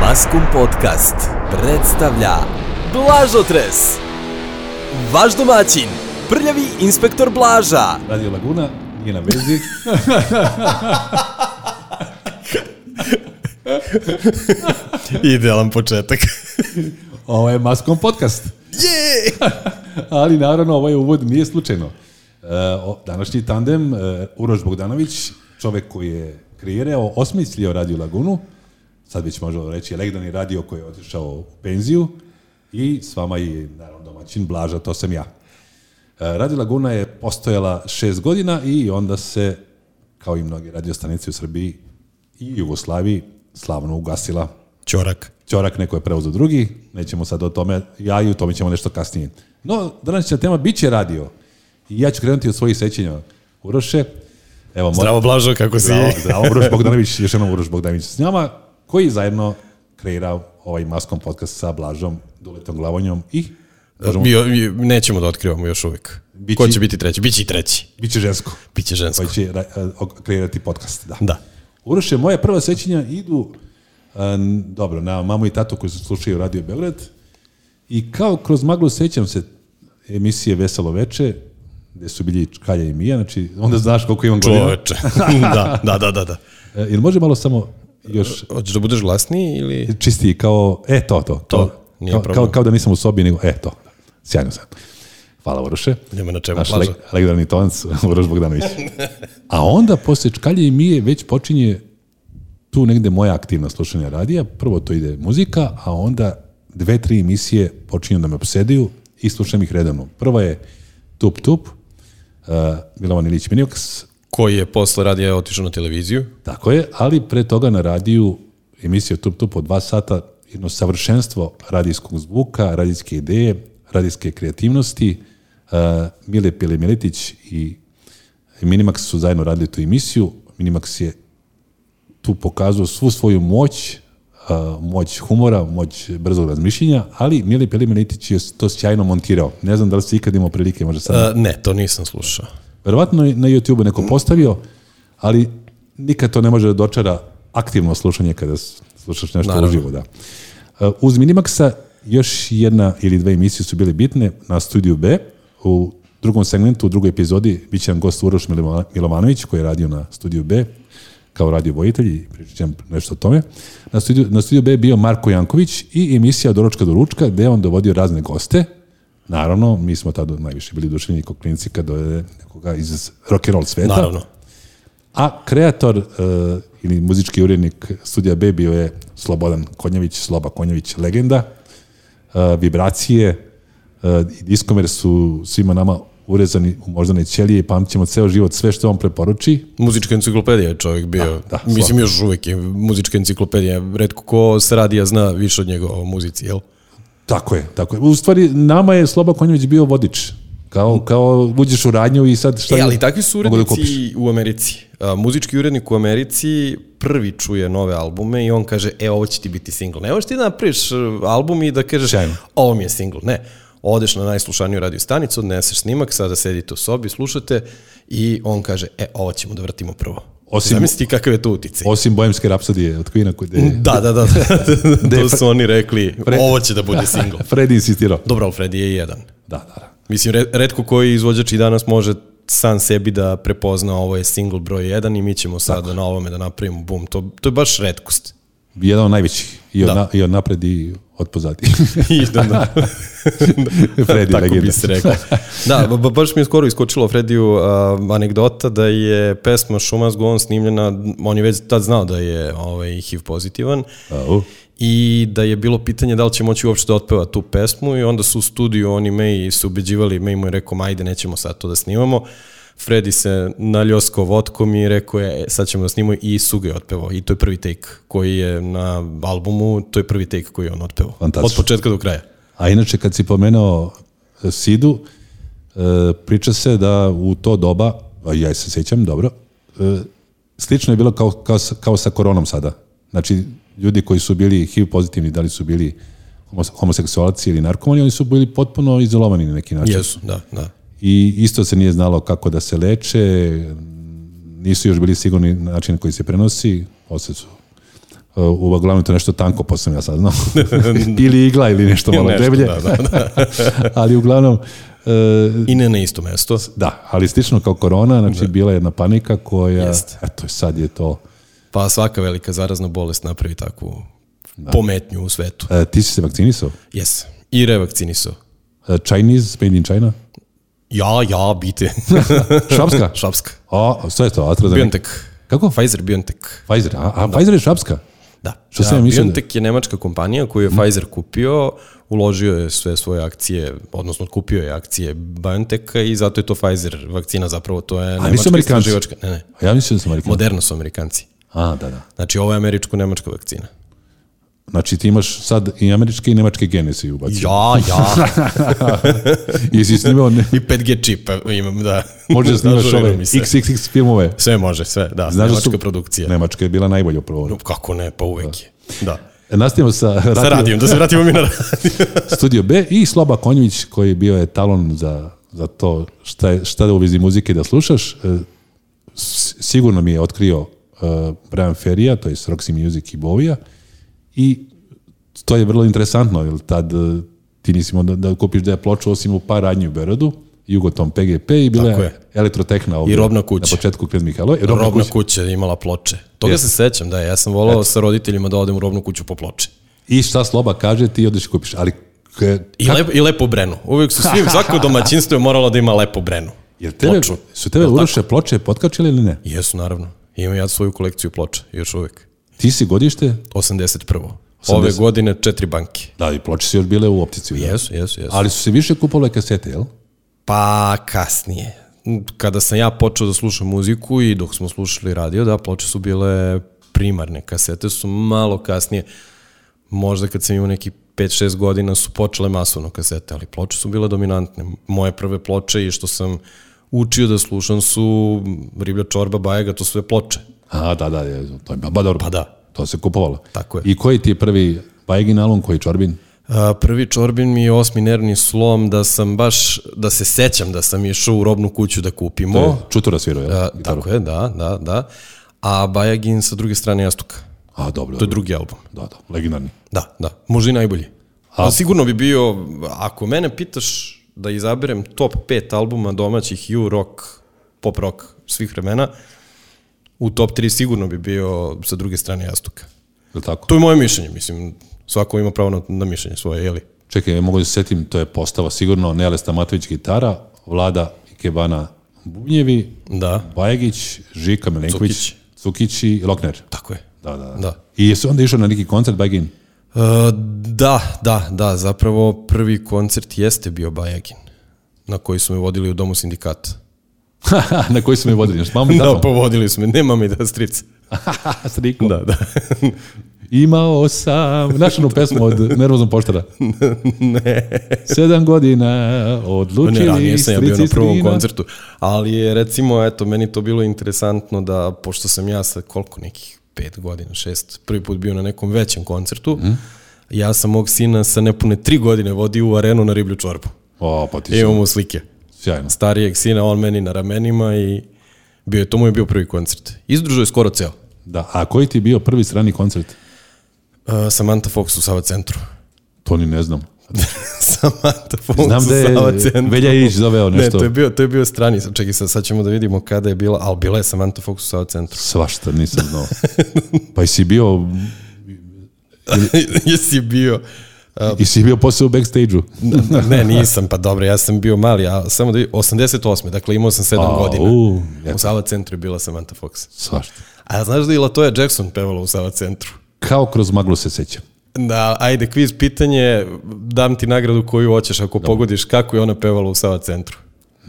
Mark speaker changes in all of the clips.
Speaker 1: Maskum Podcast predstavlja Blažotres Vaš domaćin, prljavi inspektor Blaža
Speaker 2: Radio Laguna nije na vezi.
Speaker 3: Idealan početak.
Speaker 2: Ovo je Maskom podcast. Ali naravno, ovaj uvod nije slučajno. E, o- Današnji tandem, e, Uroš Bogdanović, čovek koji je kreirao, osmislio Radio Lagunu, sad već možemo reći legendarni radio koji je otišao u penziju i s vama je naravno domaćin Blaža, to sam ja. E, Radio Laguna je postojala šest godina i onda se, kao i mnoge radiostanice u Srbiji i Jugoslaviji, slavno ugasila.
Speaker 3: Ćorak.
Speaker 2: Ćorak neko je preuzeo drugi, nećemo sad o tome, ja i o tome ćemo nešto kasnije. No, današnja tema bit će radio. I ja ću krenuti od svojih sećanja. Uroše, evo, moj-
Speaker 3: Zdravo da, Blažo, kako si?
Speaker 2: Zdravo, zdravo, Uroš Bogdanović, još jednom Uroš Bogdanović s njama, koji zajedno kreira ovaj Maskom podcast sa Blažom, Duletom Glavonjom i možemo,
Speaker 3: Bio, nećemo da otkrivamo još uvijek.
Speaker 2: Bići-
Speaker 3: Ko će biti treći? Biće i treći.
Speaker 2: bit će žensko,
Speaker 3: Biće žensko.
Speaker 2: koji će ra- o- kreirati podcast. Da.
Speaker 3: Da.
Speaker 2: Uroše, moje prva sećanja idu e, n- dobro, na mamu i tatu koji su slušaju Radio Beograd i kao kroz maglu sećam se emisije Veselo veče gde su bili Čkalja i Mija, znači onda znaš koliko imam godina.
Speaker 3: Čoveče. da, da, da, da. da.
Speaker 2: E, Jel može malo samo još
Speaker 3: Hoćeš da budeš glasniji ili...
Speaker 2: čistiji kao, e to, to. kao-
Speaker 3: nije
Speaker 2: kao,
Speaker 3: problem.
Speaker 2: kao, kao da nisam u sobi, nego, e to. Sjajno sam. Hvala Uroše.
Speaker 3: Nema na čemu,
Speaker 2: Naš
Speaker 3: Blažo.
Speaker 2: leg, legendarni tonac, Uroš Bogdanović. A onda, posle Čkalje i Mije, već počinje tu negde moja aktivna slušanja radija. Prvo to ide muzika, a onda dve, tri emisije počinju da me obsediju i slušam ih redovno. Prva je Tup Tup, uh, Milovan Ilić Minioks,
Speaker 3: Koji je posle radija otišao na televiziju?
Speaker 2: tako je, ali pre toga na radiju emisija Tup Tup od dva sata jedno savršenstvo radijskog zvuka, radijske ideje, radijske kreativnosti. Uh, Mile Pile Miletić i Minimax su zajedno radili tu emisiju. Minimax je tu pokazao svu svoju moć, uh, moć humora, moć brzog razmišljenja, ali Mile Pile Miletić je to sjajno montirao. Ne znam da li si ikad imao prilike, možda sad
Speaker 3: E, ne, to nisam slušao.
Speaker 2: Verovatno je na YouTube neko postavio, ali nikad to ne može da dočara aktivno slušanje kada s- slušaš nešto
Speaker 3: Naravno.
Speaker 2: uživo. Da. E, Uz Minimaxa još jedna ili dve emisije su bile bitne na Studiju B. U drugom segmentu, u drugoj epizodi, bit će nam gost Uroš Miloma- Milovanović koji je radio na Studiju B kao radio vojitelj i pričat ću vam nešto o tome. Na studiju, na studiju B je bio Marko Janković i emisija od Oročka do Ručka gde je on dovodio razne goste Naravno, mi smo tada najviše bili duševljeni kao klinci kad dovede nekoga iz rock and roll sveta.
Speaker 3: Naravno.
Speaker 2: A kreator e, ili muzički urednik studija B bio je Slobodan Konjević, Sloba Konjević, legenda. E, vibracije e, i diskomer su svima nama urezani u moždane ćelije i pamćemo ceo život sve što on preporuči.
Speaker 3: Muzička enciklopedija je čovjek bio.
Speaker 2: da,
Speaker 3: Mislim,
Speaker 2: slažem.
Speaker 3: još uvijek je muzička enciklopedija. Redko ko se radija zna više od njega o muzici, jel?
Speaker 2: Tako je, tako je. U stvari, nama je Sloba Konjević bio vodič. Kao, kao uđeš u radnju i sad šta...
Speaker 3: E, ali takvi su
Speaker 2: mogu da kupiš?
Speaker 3: urednici u Americi. A, muzički urednik u Americi prvi čuje nove albume i on kaže, e, ovo će ti biti singl. Ne možeš ti da napraviš e, album i da kažeš,
Speaker 2: Sjajno.
Speaker 3: ovo mi je singl. Ne, odeš na najslušaniju radio stanicu, odneseš snimak, sada sedite u sobi, slušate i on kaže, e, ovo ćemo da vrtimo prvo.
Speaker 2: Osim-
Speaker 3: Osim, Zamisli ti kakav je to uticaj.
Speaker 2: Osim Bojemske rapsodije od Kvina, gde je
Speaker 3: Da, da, da. to su oni rekli,
Speaker 2: Pre-
Speaker 3: ovo će da bude singl.
Speaker 2: Freddy E, insistirao.
Speaker 3: Dobro, Alfred je jedan.
Speaker 2: Da, da, da.
Speaker 3: Mislim, re- redko koji izvođač i danas može sam sebi da prepozna ovo je single broj 1 i mi ćemo sada na ovome da napravimo bum. To, to je baš redkost.
Speaker 2: Jedan od najvećih. I od,
Speaker 3: Da.
Speaker 2: na, i od napred i od pozadi.
Speaker 3: I da, da.
Speaker 2: Freddy,
Speaker 3: Tako
Speaker 2: legenda.
Speaker 3: bi se rekao. Da, ba- ba- baš mi je skoro iskočilo Frediju a, anegdota da je pesma Šumas Gon snimljena, on je već tad znao da je ovaj, HIV pozitivan
Speaker 2: Da. Au.
Speaker 3: i da je bilo pitanje da li će moći uopšte da otpeva tu pesmu i onda su u studiju oni May se ubeđivali, May mu je rekao, ma ajde, nećemo sad to da snimamo. Freddy se naljosko votkom i rekao je, "E, sad ćemo da snimamo i Suga je otpevao. I to je prvi take koji je na albumu, to je prvi take koji je on otpevao.
Speaker 2: Fantastično. Znači-
Speaker 3: Od početka do kraja.
Speaker 2: A inače, kad si pomenuo e, Sidu, e, priča se da u to doba, a ja se sjećam, dobro, e, slično je bilo kao, kao, sa- kao sa koronom sada. Znači, ljudi koji su bili HIV pozitivni, da li su bili homose- homoseksualci ili narkomani, oni su bili potpuno izolovani na neki način.
Speaker 3: Jesu, da, da.
Speaker 2: i isto se nije znalo kako da se leče, nisu još bili sigurni način na koji se prenosi, posle su u, uglavnom to je nešto tanko, pa sam ja saznao. ili igla, ili nešto malo
Speaker 3: Nešto,
Speaker 2: deblje.
Speaker 3: da, da,
Speaker 2: Ali uglavnom, e,
Speaker 3: I ne na isto mesto.
Speaker 2: da, ali slično kao korona, znači
Speaker 3: Da.
Speaker 2: bila je jedna panika koja,
Speaker 3: Jeste.
Speaker 2: eto, sad je to. uh,
Speaker 3: Pa svaka velika zarazna bolest napravi takvu pometnju u svetu.
Speaker 2: E, ti si se vakcinisao?
Speaker 3: Jes. I revakcinisao.
Speaker 2: E, Chinese, made in China?
Speaker 3: Ja, ja, bite.
Speaker 2: Švapska?
Speaker 3: Šapska.
Speaker 2: A, sve je to, AstraZeneca?
Speaker 3: BioNTech.
Speaker 2: Kako?
Speaker 3: Pfizer BioNTech.
Speaker 2: Pfizer, a, a Pfizer je švapska?
Speaker 3: Da.
Speaker 2: Što
Speaker 3: da,
Speaker 2: sam ja Mhm. mislio da-
Speaker 3: BioNTech je nemačka kompanija koju je Pfizer kupio, uložio je sve svoje akcije, odnosno kupio je akcije BioNTecha i zato je to Pfizer vakcina zapravo, to je
Speaker 2: nisu
Speaker 3: nemačka
Speaker 2: Amerikanci?
Speaker 3: istraživačka. Ne, ne.
Speaker 2: A ja mislim da sam Amerikan.
Speaker 3: Moderno su Amerikanci.
Speaker 2: A, da, da.
Speaker 3: Znači, ovo je američko-nemačka vakcina.
Speaker 2: Znači ti imaš sad i američke i nemačke gene si ubacio.
Speaker 3: Ja, ja.
Speaker 2: I si snimao, ne,
Speaker 3: I 5G čip imam, da.
Speaker 2: možda snimaš
Speaker 3: Ažuriram
Speaker 2: ove
Speaker 3: mi se.
Speaker 2: XXX filmove.
Speaker 3: Sve može, sve, da.
Speaker 2: Znaš da
Speaker 3: nemačka
Speaker 2: su-
Speaker 3: produkcija.
Speaker 2: Nemačka je bila najbolja u prvoru.
Speaker 3: Kako ne, pa uvek je. Da.
Speaker 2: E, Nastavimo sa
Speaker 3: Sa
Speaker 2: radio,
Speaker 3: radijom, da se vratimo mi na radio.
Speaker 2: Studio B i Sloba Konjević koji je bio etalon za, za to šta, je, šta da u vezi muzike da slušaš. E, s- Sigurno mi je otkrio uh, Brian Ferija, to je Roxy Music i Bovija i to je vrlo interesantno, jer tad e, ti nisi mogao da, da kupiš da je ploču osim u par radnji u Berodu, Jugoton PGP i bila
Speaker 3: Tako
Speaker 2: je
Speaker 3: je.
Speaker 2: elektrotehna ovdje.
Speaker 3: I robna kuća.
Speaker 2: Pa Na početku Kred Mihajlo. I robna,
Speaker 3: Robna
Speaker 2: kuća.
Speaker 3: kuća je imala ploče. Toga se sećam, da, ja sam volao sa roditeljima da odem u robnu kuću po ploče.
Speaker 2: I šta Sloba kaže, ti odeš i kupiš. Ali k-
Speaker 3: I, lepo, I lepo brenu. Uvijek su svi, svako domaćinstvo je moralo da ima lepo brenu.
Speaker 2: Jel tebe,
Speaker 3: Ploču.
Speaker 2: su tebe uroše ploče potkačile ili ne?
Speaker 3: Jesu, naravno. Imam ja svoju kolekciju ploča, još uvijek.
Speaker 2: Ti si godište?
Speaker 3: 81. Ove
Speaker 2: 80.
Speaker 3: godine četiri banke.
Speaker 2: Da, i ploče su još bile u optici. Da.
Speaker 3: Jesu, jesu, jesu.
Speaker 2: Ali su se više kupovale kasete, jel?
Speaker 3: Pa kasnije. Kada sam ja počeo da slušam muziku i dok smo slušali radio, da, ploče su bile primarne, kasete su malo kasnije, možda kad sam imao neki 5-6 godina su počele masovno kasete, ali ploče su bile dominantne. Moje prve ploče i što sam učio da slušam su Riblja čorba, Bajega, to su sve ploče.
Speaker 2: A, da, da, je, to je baba dobro.
Speaker 3: Pa da.
Speaker 2: To se kupovalo.
Speaker 3: Tako je.
Speaker 2: I koji ti je prvi Bajegin album, koji Čorbin?
Speaker 3: A, prvi čorbin mi je osmi nervni slom da sam baš, da se sećam da sam išao u robnu kuću da kupimo.
Speaker 2: To je Čutura svirao, jel?
Speaker 3: Da, tako je, da, da, da. A Bajagin sa druge strane Jastuka.
Speaker 2: A, dobro.
Speaker 3: To je
Speaker 2: dobro.
Speaker 3: drugi album.
Speaker 2: Da, da, legendarni.
Speaker 3: Da, da. Možda i najbolji. A sigurno bi bio, ako mene pitaš da izaberem top 5 albuma domaćih ju rock, pop rock svih vremena, u top 3 sigurno bi bio sa druge strane Jastuka.
Speaker 2: Je li tako?
Speaker 3: To je moje mišljenje, mislim, svako ima pravo na, na mišljenje svoje, jeli?
Speaker 2: Čekaj, mogu da se setim, to je postava sigurno Nele Stamatović gitara, Vlada i Kebana Bubnjevi,
Speaker 3: Da,
Speaker 2: Bajegić, Žika Milenković, Cukić,
Speaker 3: Cukić.
Speaker 2: i Lokner.
Speaker 3: tako je.
Speaker 2: Da, da, da.
Speaker 3: Da.
Speaker 2: I jesu onda išao na neki koncert Bajegin?
Speaker 3: E, da, da, da, zapravo prvi koncert jeste bio Bajagin, na koji su me vodili u domu sindikata.
Speaker 2: na koji su me vodili? Još mamu i
Speaker 3: Da,
Speaker 2: tatom?
Speaker 3: povodili su me, nema mi da strica.
Speaker 2: A, s Rikom.
Speaker 3: Da, da.
Speaker 2: Imao sam našu onu pesmu od Nervoznog poštara. ne. Sedam godina
Speaker 3: Ne,
Speaker 2: odlučili
Speaker 3: ranije sam ja bio na
Speaker 2: strici
Speaker 3: prvom
Speaker 2: strina.
Speaker 3: koncertu. Ali je, recimo, eto, meni to bilo interesantno da, pošto sam ja sa koliko nekih, pet godina, šest, prvi put bio na nekom većem koncertu, ja sam mog sina sa nepune tri godine vodio u arenu na riblju čorbu.
Speaker 2: O, pa ti si
Speaker 3: Imamo slike.
Speaker 2: sjajno.
Speaker 3: Starijeg sina, on meni na ramenima i bio je, to mu je bio prvi koncert. Izdružio je skoro ceo.
Speaker 2: Da, a koji ti je bio prvi strani koncert?
Speaker 3: Uh, Samantha Fox u Sava centru.
Speaker 2: To ni ne znam.
Speaker 3: Samantha Fox
Speaker 2: Znam da
Speaker 3: u
Speaker 2: je
Speaker 3: Sava centru.
Speaker 2: Velja Ilić doveo
Speaker 3: Ne,
Speaker 2: nešto.
Speaker 3: to je bio, to je bio strani, sad čekaj sad, sad ćemo da vidimo kada je bila, ali bila je Samantha Fox u Sava centru.
Speaker 2: Svašta, nisam znao. pa i si bio,
Speaker 3: Jesi bio?
Speaker 2: i si bio posle u backstage-u.
Speaker 3: Da, Ne, nisam, pa dobro, ja sam bio mali, a samo da vidim, 88. Dakle, imao sam 7
Speaker 2: A,
Speaker 3: godina.
Speaker 2: u, eto.
Speaker 3: u Sava centru je bila Samantha Fox.
Speaker 2: Svašta.
Speaker 3: A znaš da je Latoya Jackson pevala u Sava centru?
Speaker 2: Kao kroz maglu se sećam.
Speaker 3: Da, ajde, kviz pitanje, dam ti nagradu koju hoćeš ako pogodiš kako je ona pevala u Sava centru.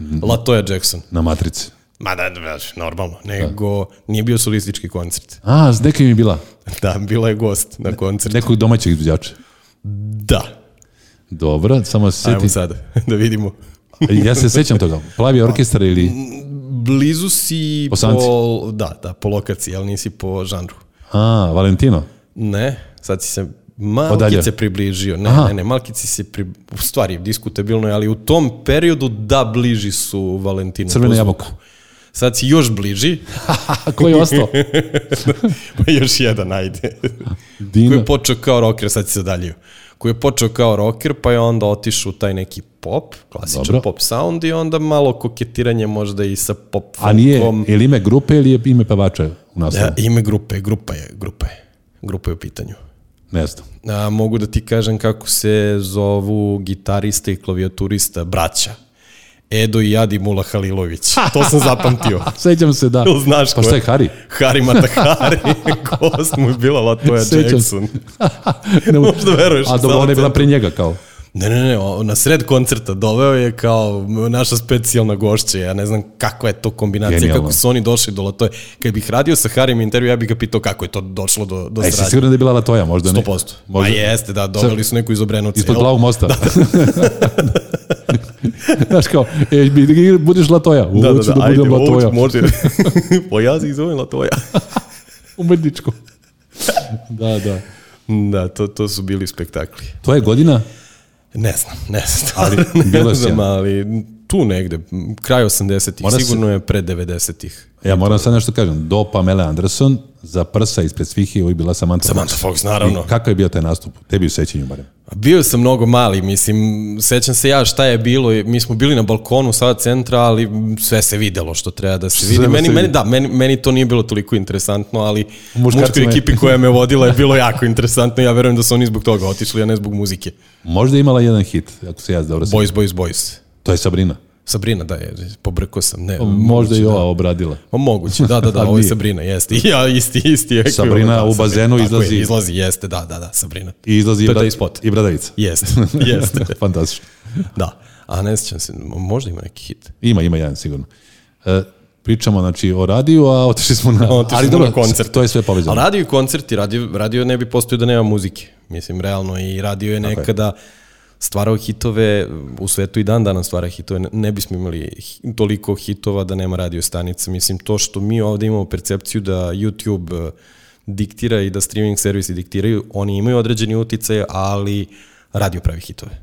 Speaker 2: Mhm.
Speaker 3: Latoya Jackson.
Speaker 2: Na Matrici.
Speaker 3: Ma da, znaš, normalno, nego nije bio solistički koncert.
Speaker 2: A, s nekim je bila.
Speaker 3: Da, bila je gost na koncertu.
Speaker 2: Nekog domaćeg izvođača.
Speaker 3: Da.
Speaker 2: Dobro, samo se
Speaker 3: Ajmo
Speaker 2: sjeti.
Speaker 3: sada, da vidimo.
Speaker 2: Ja se sećam toga. Plavi orkestar ili...
Speaker 3: Blizu si
Speaker 2: Po samci.
Speaker 3: po, da, da, po lokaciji, ali nisi po žanru.
Speaker 2: A, Valentino.
Speaker 3: Ne, sad si se malkice
Speaker 2: Odaljio.
Speaker 3: približio. Ne,
Speaker 2: Aha.
Speaker 3: ne, ne, malkice si pri... U stvari, diskutabilno je, ali u tom periodu da bliži su Valentinu.
Speaker 2: Crveno
Speaker 3: po zvuku.
Speaker 2: jabuko.
Speaker 3: Sad si još bliži,
Speaker 2: A ko je ostao?
Speaker 3: pa još jedan, ajde. Koji
Speaker 2: Dino.
Speaker 3: je počeo kao rocker, sad si se daljio. Koji je počeo kao rocker, pa je onda otišao u taj neki pop, klasičan
Speaker 2: Dobro.
Speaker 3: Dobro. pop sound i onda malo koketiranje možda i sa pop
Speaker 2: A nije,
Speaker 3: funkom.
Speaker 2: je li ime grupe ili je ime pevača u nastavu?
Speaker 3: Da, ime grupe, grupa je, grupa je. Grupa je u pitanju.
Speaker 2: Ne znam.
Speaker 3: A, mogu da ti kažem kako se zovu gitarista i klavijaturista, braća. Edo i Adi Mula Halilović. To sam zapamtio.
Speaker 2: Sećam se da.
Speaker 3: Jel znaš
Speaker 2: pa
Speaker 3: ko
Speaker 2: šta je
Speaker 3: je?
Speaker 2: Hari?
Speaker 3: Hari Matahari, gost mu je bila Latoja
Speaker 2: Sećam se.
Speaker 3: Jackson.
Speaker 2: Ne mogu-
Speaker 3: Možda veruješ.
Speaker 2: A dobro,
Speaker 3: samo
Speaker 2: ona je bila
Speaker 3: to.
Speaker 2: pre njega kao.
Speaker 3: Ne, ne, ne, o- na sred koncerta doveo je kao naša specijalna gošća, ja ne znam kakva je to kombinacija,
Speaker 2: Genijalno.
Speaker 3: kako su oni došli do Latoje. Kad bih radio sa Harim intervju, ja bih ga pitao kako je to došlo do, do
Speaker 2: E, si
Speaker 3: sradnje.
Speaker 2: sigurno da je bila Latoja, možda ne.
Speaker 3: 100%. Ma
Speaker 2: Možda,
Speaker 3: jeste, da, doveli su neku iz Obrenovca.
Speaker 2: ispod
Speaker 3: jel?
Speaker 2: plavog mosta. Da, Znaš kao, e, bi- budeš Latoja. U, da, da, da, budem Latoja.
Speaker 3: može. po Pa ja se ih zovem Latoja.
Speaker 2: Umetničko. Da, da.
Speaker 3: da, to, to su bili spektakli.
Speaker 2: To je godina?
Speaker 3: Ne znam, ne znam. Ali, ne
Speaker 2: bilo si
Speaker 3: znam,
Speaker 2: jedan.
Speaker 3: ali tu negde, m, kraj 80-ih,
Speaker 2: Mora se-
Speaker 3: sigurno je pre 90-ih.
Speaker 2: Ja moram sad nešto kažem. Do Pamela Anderson, za prsa ispred svih je uvijek bila Samantha,
Speaker 3: Samantha Fox, naravno.
Speaker 2: I Kakav je bio taj nastup? Tebi u sećanju barem.
Speaker 3: Bio sam mnogo mali, mislim, sećam se ja šta je bilo, mi smo bili na balkonu sada centra, ali sve se videlo što treba da se vidi.
Speaker 2: treba
Speaker 3: Meni,
Speaker 2: se
Speaker 3: meni,
Speaker 2: vidi.
Speaker 3: da, meni, meni to nije bilo toliko interesantno, ali
Speaker 2: Muškarcima
Speaker 3: muškoj
Speaker 2: je.
Speaker 3: ekipi koja me vodila je bilo jako interesantno, ja verujem da su oni zbog toga otišli, a ne zbog muzike.
Speaker 2: Možda je imala jedan hit, ako se ja dobro sjećam.
Speaker 3: Boys, boys, boys.
Speaker 2: To je Sabrina.
Speaker 3: Sabrina, da je, pobrkao sam, ne.
Speaker 2: Pa Možda
Speaker 3: da.
Speaker 2: je ova obradila.
Speaker 3: Ma moguće, da, da, da,
Speaker 2: Ali
Speaker 3: ovo je
Speaker 2: nije.
Speaker 3: Sabrina, jeste. Ja, isti, isti. ekvivalent,
Speaker 2: Sabrina
Speaker 3: da,
Speaker 2: u bazenu
Speaker 3: Sabrina, tako
Speaker 2: izlazi.
Speaker 3: Je, izlazi, jeste, da, da, da, Sabrina.
Speaker 2: I izlazi
Speaker 3: To je
Speaker 2: Brad-
Speaker 3: taj spot.
Speaker 2: i Bradavica.
Speaker 3: Jeste, jeste,
Speaker 2: Fantastično.
Speaker 3: da. A ne sjećam se, možda ima neki hit.
Speaker 2: Ima, ima jedan sigurno. E, pričamo znači o radiju, a otišli smo na,
Speaker 3: Otišli
Speaker 2: Da. ali
Speaker 3: smo
Speaker 2: dobro,
Speaker 3: na koncert.
Speaker 2: To je sve povezano.
Speaker 3: A radio i koncerti, radio, radio ne bi postojao da nema muzike. Mislim, realno, i radio je nekada stvarao hitove, u svetu i dan danas stvara hitove, Ne- ne bismo imali hi- toliko hitova da nema radio stanica. Mislim, to što mi ovde imamo percepciju da YouTube eh, diktira i da streaming servisi diktiraju, oni imaju određeni utice, ali radio pravi hitove.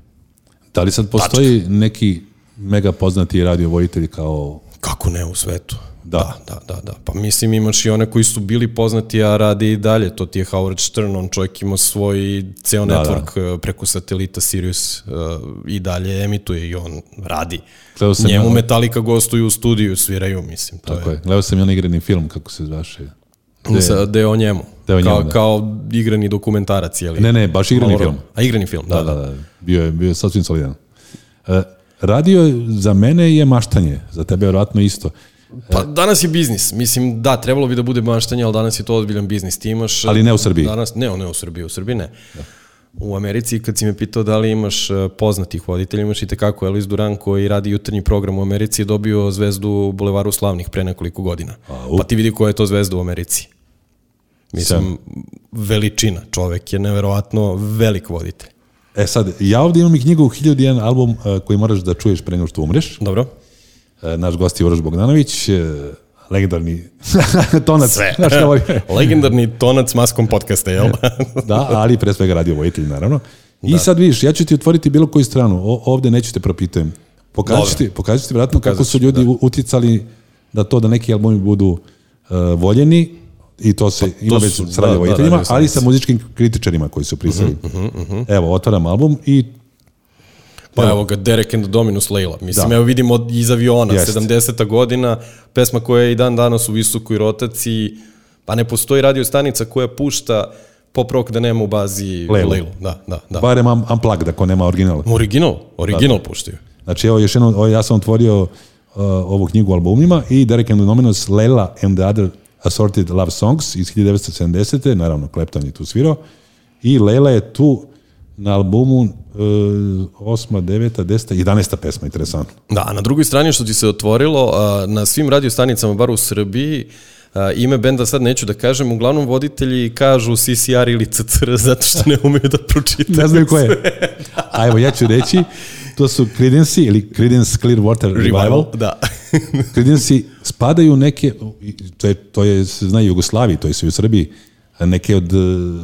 Speaker 2: Da li sad postoji neki mega poznati radio vojitelji kao
Speaker 3: Kako ne u svetu?
Speaker 2: Da.
Speaker 3: Da, da, da. Pa mislim imaš i one koji su bili poznati, a rade i dalje. To ti je Howard Stern, on čovjek ima svoj ceo
Speaker 2: Da, da.
Speaker 3: network da, preko satelita Sirius eh, i dalje emituje i on radi.
Speaker 2: Gledao sam
Speaker 3: Njemu
Speaker 2: ja-
Speaker 3: Metallica gostuju u studiju, sviraju, mislim. To
Speaker 2: Tako
Speaker 3: je.
Speaker 2: je. Gledao sam i onaj igrani film, kako se zvaše.
Speaker 3: Sa, da je o njemu.
Speaker 2: Da je o
Speaker 3: kao,
Speaker 2: njemu, da.
Speaker 3: kao igrani dokumentarac, je li?
Speaker 2: Ne, ne, baš igrani
Speaker 3: Malo-
Speaker 2: film.
Speaker 3: A igrani film, da, da.
Speaker 2: Da, da, bio je, bio je sasvim solidan. E, radio je- za mene je maštanje, za tebe je vjerojatno isto.
Speaker 3: Pa danas je biznis. Mislim, da, trebalo bi da bude maštanje, ali danas je to ozbiljan biznis. Ti imaš...
Speaker 2: Ali ne u Srbiji. Da.
Speaker 3: Danas, ne, ne u Srbiji, u Srbiji ne. U Americi, kad si me pitao da li imaš e, poznatih voditelja, imaš i tekako Elis Duran koji radi jutarnji program u Americi je dobio zvezdu u Bulevaru Slavnih pre nekoliko godina.
Speaker 2: Au.
Speaker 3: Pa ti vidi koja je to zvezda u Americi. Mislim, veličina. Čovek je neverovatno velik voditelj.
Speaker 2: E sad, ja ovdje imam i knjigu 1001 album e, koji moraš da čuješ pre nego što umreš.
Speaker 3: Dobro?
Speaker 2: E, naš gost je Uroš Bogdanović, e, legendarni tonac. Sve. Znaš kao ovaj- je.
Speaker 3: Legendarni tonac maskom podcasta, jel?
Speaker 2: Da, ali pre svega radio vojitelj, naravno.
Speaker 3: Da.
Speaker 2: I sad vidiš, ja ću ti otvoriti bilo koju stranu. O, ovde neću te propitujem. Pokazat ću
Speaker 3: Dobro.
Speaker 2: ti, pokazat ću ti vratno kako su ljudi da. uticali da to da neki albumi budu uh, voljeni i to se ima
Speaker 3: su-
Speaker 2: već s
Speaker 3: da,
Speaker 2: radio
Speaker 3: da,
Speaker 2: vojiteljima,
Speaker 3: radio sam Mhm,
Speaker 2: ali
Speaker 3: već.
Speaker 2: sa muzičkim kritičarima koji su prisili. Evo, otvaram album i
Speaker 3: Pa evo ga, Derek and the Dominus Leila. Mislim,
Speaker 2: Da.
Speaker 3: da. evo vidimo od- iz aviona,
Speaker 2: Jeste.
Speaker 3: 70. godina, pesma koja je i dan danas u visokoj rotaciji, pa ne postoji radio stanica koja pušta pop rock da nema u bazi
Speaker 2: Leilu.
Speaker 3: Leilu. Da, da, da.
Speaker 2: barem am, unplugged ako nema originala.
Speaker 3: Original, original puštaju.
Speaker 2: Znači, evo, još jednom, ovo, ja sam otvorio uh, ovu knjigu o albumima i Derek and the Dominos, Leila and the Other Assorted Love Songs iz 1970. Naravno, Clapton je tu svirao. I Leila je tu na albumu uh, 8, 9, 10, 11. pesma, interesantno.
Speaker 3: Da, a na drugoj strani što ti se otvorilo, a, na svim radiostanicama, bar u Srbiji, a, ime benda sad neću da kažem, uglavnom voditelji kažu CCR ili CCR zato što ne umeju da pročitaju.
Speaker 2: Ne znam ko je. A evo, ja ću reći, to su Credency ili Credence Clearwater Revival.
Speaker 3: Da.
Speaker 2: Kredenci spadaju neke, to je, to je se zna i u Jugoslaviji, to je se i u Srbiji, neke od eh,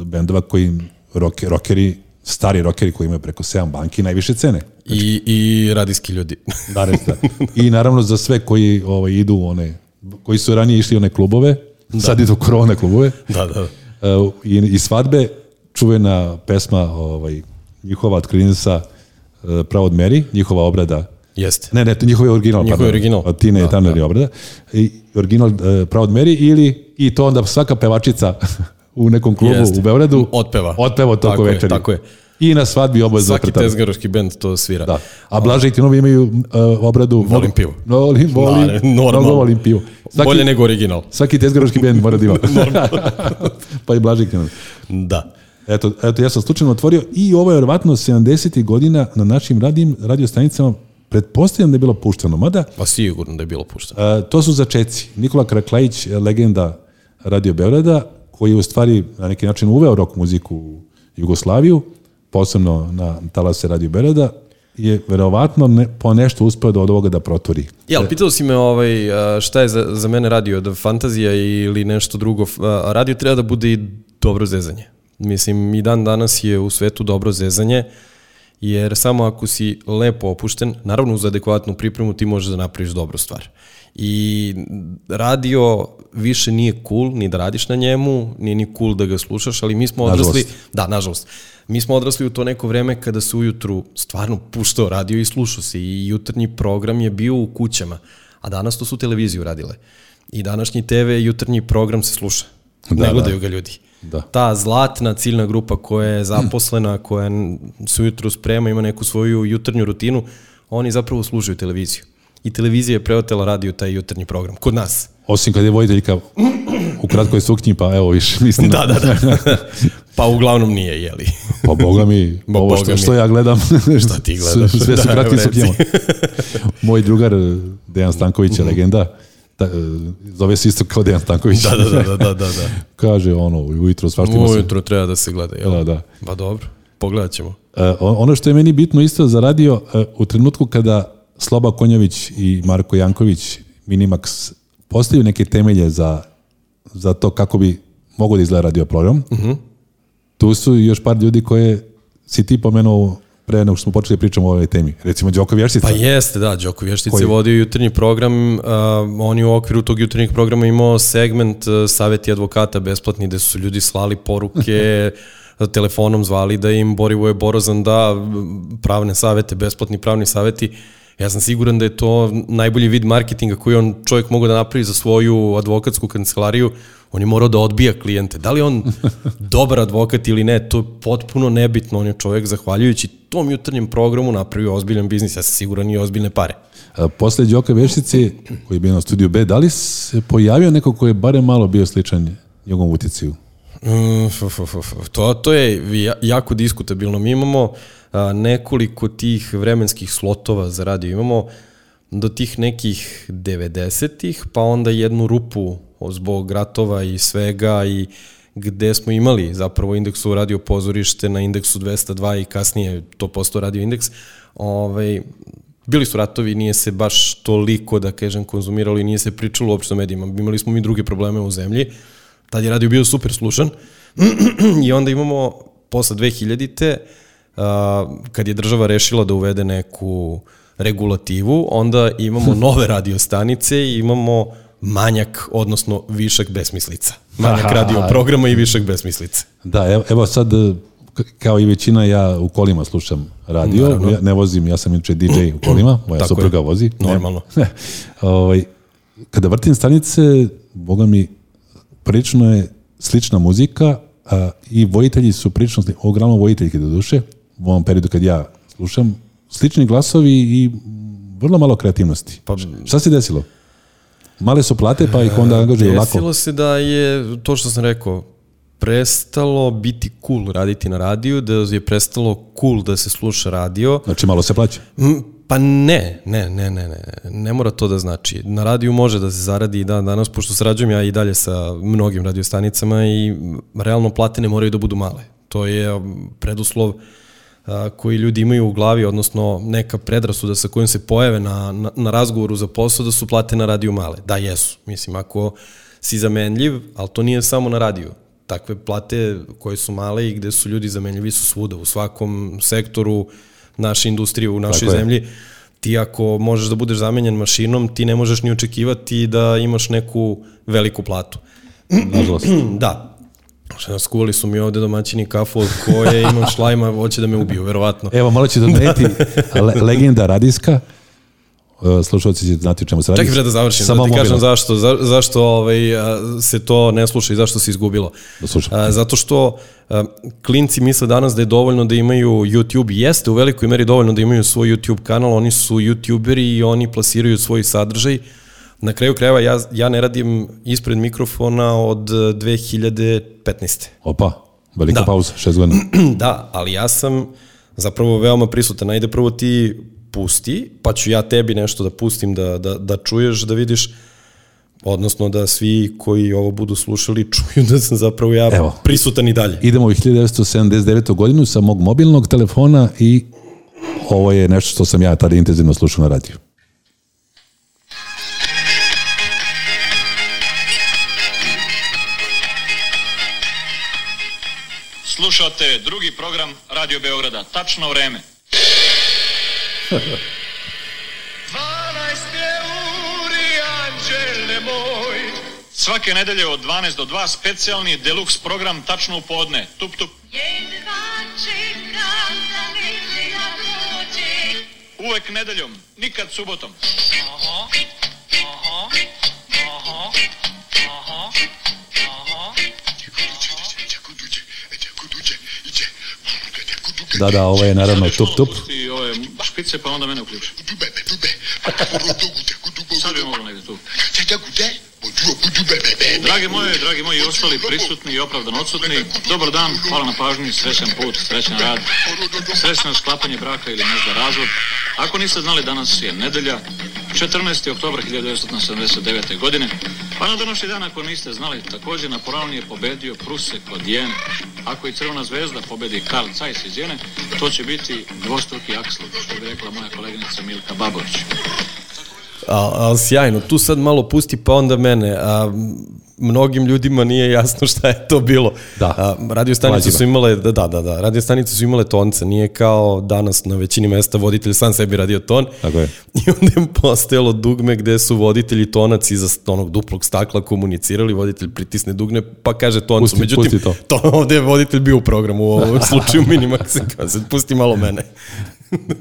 Speaker 2: bendova koji roke, rokeri, stari rokeri koji imaju preko 7 banki najviše cene.
Speaker 3: I, I radijski ljudi.
Speaker 2: Danas, da. I naravno za sve koji ovaj, idu u one koji su ranije išli u one klubove, da. sad idu u korona klubove,
Speaker 3: Da, da.
Speaker 2: Uh, i, i svadbe čuvena pesma ovaj, njihova od Klinsa uh, Proud Mary, njihova obrada
Speaker 3: Jeste.
Speaker 2: ne, ne, to njihov je original.
Speaker 3: Njihov je
Speaker 2: pardon.
Speaker 3: original. Da,
Speaker 2: Od Tine i Tanner je obrada. I, original uh, Proud Mary ili i to onda svaka pevačica u nekom klubu
Speaker 3: Jeste.
Speaker 2: u Beogradu
Speaker 3: Otpeva.
Speaker 2: Otpeva toko
Speaker 3: Tako je,
Speaker 2: večeri.
Speaker 3: tako je.
Speaker 2: I na svadbi oboje
Speaker 3: Svaki
Speaker 2: zapretali.
Speaker 3: tezgaroški bend to svira.
Speaker 2: Da. A Blaže i Tinovi imaju uh, obradu...
Speaker 3: Volim pivo.
Speaker 2: No, volim, volim,
Speaker 3: Da, normalno.
Speaker 2: mnogo volim pivo. Svaki,
Speaker 3: Bolje nego original.
Speaker 2: svaki tezgaroški bend mora da ima. pa i Blaže i Tinovi.
Speaker 3: Da.
Speaker 2: Eto, eto, ja sam slučajno otvorio i ovo je verovatno 70. godina na našim radim, radiostanicama pretpostavljam da je bilo pušteno, mada
Speaker 3: Pa sigurno da je bilo pušteno.
Speaker 2: E, to su začeci. Nikola Kraklajić, e, legenda Radio Beograda, koji je u stvari na neki način uveo rock muziku u Jugoslaviju, posebno na talase Radio Beograda, je verovatno ne, po nešto uspeo da od ovoga da proturi.
Speaker 3: Jel, pitao si me ovaj, a, šta je za, za mene radio, da fantazija ili nešto drugo. F- a, Radio treba da bude i dobro zezanje. Mislim, i dan danas je u svetu dobro zezanje, jer samo ako si lepo opušten, naravno uz adekvatnu pripremu ti možeš da napraviš dobru stvar. I radio više nije cool ni da radiš na njemu, nije ni cool da ga slušaš, ali mi smo
Speaker 2: Nažalost.
Speaker 3: odrasli Da, nažalost. Mi smo odrasli u to neko vreme kada se ujutru stvarno puštao radio i slušao se i jutarnji program je bio u kućama, a danas to su televizije uradile. I današnji TV jutarnji program se sluša. Da, ne
Speaker 2: da.
Speaker 3: gledaju ga ljudi.
Speaker 2: Da.
Speaker 3: Ta zlatna ciljna grupa koja je zaposlena, koja n- se ujutru sprema, ima neku svoju jutarnju rutinu, oni zapravo slušaju televiziju. I televizija je preotela radio taj jutarnji program. Kod nas.
Speaker 2: Osim kad je vojiteljka u kratkoj suknji, pa evo više, mislim,
Speaker 3: Da, da, da. pa uglavnom nije, jeli.
Speaker 2: pa boga mi,
Speaker 3: Ma
Speaker 2: ovo
Speaker 3: boga
Speaker 2: što,
Speaker 3: mi.
Speaker 2: što ja gledam,
Speaker 3: Šta ti gledaš?
Speaker 2: sve su
Speaker 3: Da,
Speaker 2: da, kratke
Speaker 3: evo, reci.
Speaker 2: suknjama. Moj drugar, Dejan Stanković je legenda, ta, e, zove se isto kao Dejan Stanković.
Speaker 3: Da, da, da, da, da, da.
Speaker 2: Kaže ono, ujutro svašta ima se.
Speaker 3: Ujutro treba da se gleda, jel?
Speaker 2: Da, da.
Speaker 3: Pa dobro, pogledat ćemo.
Speaker 2: E, o- ono što je meni bitno isto za radio, e, u trenutku kada Sloba Konjović i Marko Janković, Minimax, postavljaju neke temelje za, za to kako bi mogo da izgleda radio program,
Speaker 3: Mhm.
Speaker 2: tu su još par ljudi koje si ti pomenuo pre nego što smo počeli da pričamo o ovoj temi. Recimo Đoko Vješica.
Speaker 3: Pa jeste, da, Đoko Vještic
Speaker 2: Koji?
Speaker 3: je vodio jutarnji program, a, on je u okviru tog jutarnjeg programa imao segment uh, Saveti advokata besplatni gde su ljudi slali poruke, telefonom zvali da im Borivoje Borozan da m, pravne savete, besplatni pravni saveti. Ja sam siguran da je to najbolji vid marketinga koji on čovjek mogao da napravi za svoju advokatsku kancelariju. On je morao da odbija klijente. Da li je on dobar advokat ili ne, to je potpuno nebitno. On je čovjek, zahvaljujući tom jutarnjem programu, napravio ozbiljan biznis. Ja sam siguran i ozbiljne pare.
Speaker 2: E, Posle Đoka Vješice, koji je bio na studiju B, da li se pojavio neko koji je barem malo bio sličan njegovom uticiju?
Speaker 3: Mm, f, f, f, f. To, to je ja- jako diskutabilno. Mi imamo a, nekoliko tih vremenskih slotova za radio. Imamo do tih nekih 90-ih, pa onda jednu rupu zbog ratova i svega i gde smo imali zapravo indeksu radio pozorište na indeksu 202 i kasnije to postao radio indeks. Ovaj, bili su ratovi, nije se baš toliko, da kažem, konzumiralo i nije se pričalo uopšte o medijima. Imali smo mi druge probleme u zemlji. Tad je radio bio super slušan. I onda imamo posle 2000-te, a, kad je država rešila da uvede neku regulativu, onda imamo nove radiostanice i imamo manjak, odnosno višak besmislica. Manjak
Speaker 2: Aha.
Speaker 3: radio programa i višak besmislica.
Speaker 2: Da, evo, evo sad, e, k- kao i većina, ja u kolima slušam radio, ja ne vozim, ja sam inače DJ u kolima, moja
Speaker 3: Tako je.
Speaker 2: supruga vozi. Ne.
Speaker 3: Normalno.
Speaker 2: ovaj, kada vrtim stanice, boga mi, prilično je slična muzika a, i vojitelji su prilično, sli- uglavnom vojiteljke do duše, u ovom periodu kad ja slušam, slični glasovi i vrlo malo kreativnosti.
Speaker 3: Pa-
Speaker 2: Šta se desilo? Male su plate, pa ih onda angažuju lako.
Speaker 3: Desilo se da je, to što sam rekao, prestalo biti cool raditi na radiju, da je prestalo cool da se sluša radio.
Speaker 2: Znači, malo se plaća.
Speaker 3: Mm, Pa ne, ne, ne, ne, ne, ne mora to da znači. Na radiju može da se zaradi i dan danas, pošto sarađujem ja i dalje sa mnogim radiostanicama i m, realno plate ne moraju da budu male. To je um, preduslov a, koji ljudi imaju u glavi, odnosno neka predrasuda sa kojom se pojave na, na, na razgovoru za posao da su plate na radiju male. Da, jesu. Mislim, ako si zamenljiv, ali to nije samo na radiju takve plate koje su male i gde su ljudi zamenljivi su svuda, u svakom sektoru naše industrije, u našoj
Speaker 2: Tako je.
Speaker 3: zemlji. ti ako možeš da budeš zamenjen mašinom, ti ne možeš ni očekivati da imaš neku veliku platu.
Speaker 2: nažalost.
Speaker 3: Da. Skuvali su mi ovde domaćini kafu od koje imam šlajma, hoće da me ubiju, verovatno.
Speaker 2: Pa Evo, malo će doneti
Speaker 3: Da.
Speaker 2: le, legenda radijska. E, Slušalci će znati o čemu se radi.
Speaker 3: Čekaj bre da završim, da ti
Speaker 2: mobilno.
Speaker 3: kažem zašto, za, zašto ovaj, a, se to ne sluša i zašto se izgubilo.
Speaker 2: Da slušam.
Speaker 3: A, Zato što a, klinci misle danas da je dovoljno da imaju YouTube, jeste u velikoj meri dovoljno da imaju svoj YouTube kanal, oni su YouTuberi i oni plasiraju svoj sadržaj. Na kraju krajeva ja, ja ne radim ispred mikrofona od e, 2015.
Speaker 2: Opa, velika
Speaker 3: Da.
Speaker 2: pauza, šest godina.
Speaker 3: da, ali ja sam zapravo veoma prisutan. Ajde prvo ti pusti, pa ću ja tebi nešto da pustim da, da, da čuješ, da vidiš odnosno da svi koji ovo budu slušali čuju da sam zapravo ja
Speaker 2: Evo.
Speaker 3: Evo. prisutan i dalje.
Speaker 2: Idemo u 1979. godinu sa mog mobilnog telefona i ovo je nešto što sam ja tada intenzivno slušao na radiju.
Speaker 4: Slušate drugi program Radio Beograda. Tačno vreme. 12 je uri, anđele moj. Svake nedelje od 12 do 2 specijalni deluxe program tačno u podne. Tup tup.
Speaker 5: Jedva čekam da nedelja dođe.
Speaker 4: Uvek nedeljom, nikad subotom.
Speaker 2: Da, da, ovo je naravno tup tup.
Speaker 4: I ove špice pa onda mene uključi. Sad bi moglo negde tu. Dragi moji, dragi moji i ostali prisutni i opravdano odsutni, dobar dan, hvala na pažnji, srećan put, srećan rad, srećno sklapanje braka ili možda razvod. Ako niste znali, danas je nedelja, 14. oktober 1979. godine, pa na današnji dan, ako niste znali, takođe na poravni je pobedio Pruse kod Jene. Ako i Crvena zvezda pobedi Karl Zeiss iz Jene, to će biti dvostruki aksel, što bi rekla moja koleginica Milka Babović.
Speaker 3: A, a, sjajno, tu sad malo pusti pa onda mene. A, m, mnogim ljudima nije jasno šta je to bilo.
Speaker 2: Da.
Speaker 3: A, radio stanice
Speaker 2: Mlađima.
Speaker 3: su imale, da, da, da, da, radio stanice su imale tonce, nije kao danas na većini mesta voditelj sam sebi radio ton.
Speaker 2: Tako je.
Speaker 3: I onda je postojalo dugme gde su voditelji tonac iza onog duplog stakla komunicirali, voditelj pritisne dugme pa kaže toncu.
Speaker 2: Pusti- pusti
Speaker 3: Međutim,
Speaker 2: to.
Speaker 3: to ovde je voditelj bio u programu, u ovom slučaju minimax, kao sad pusti malo mene.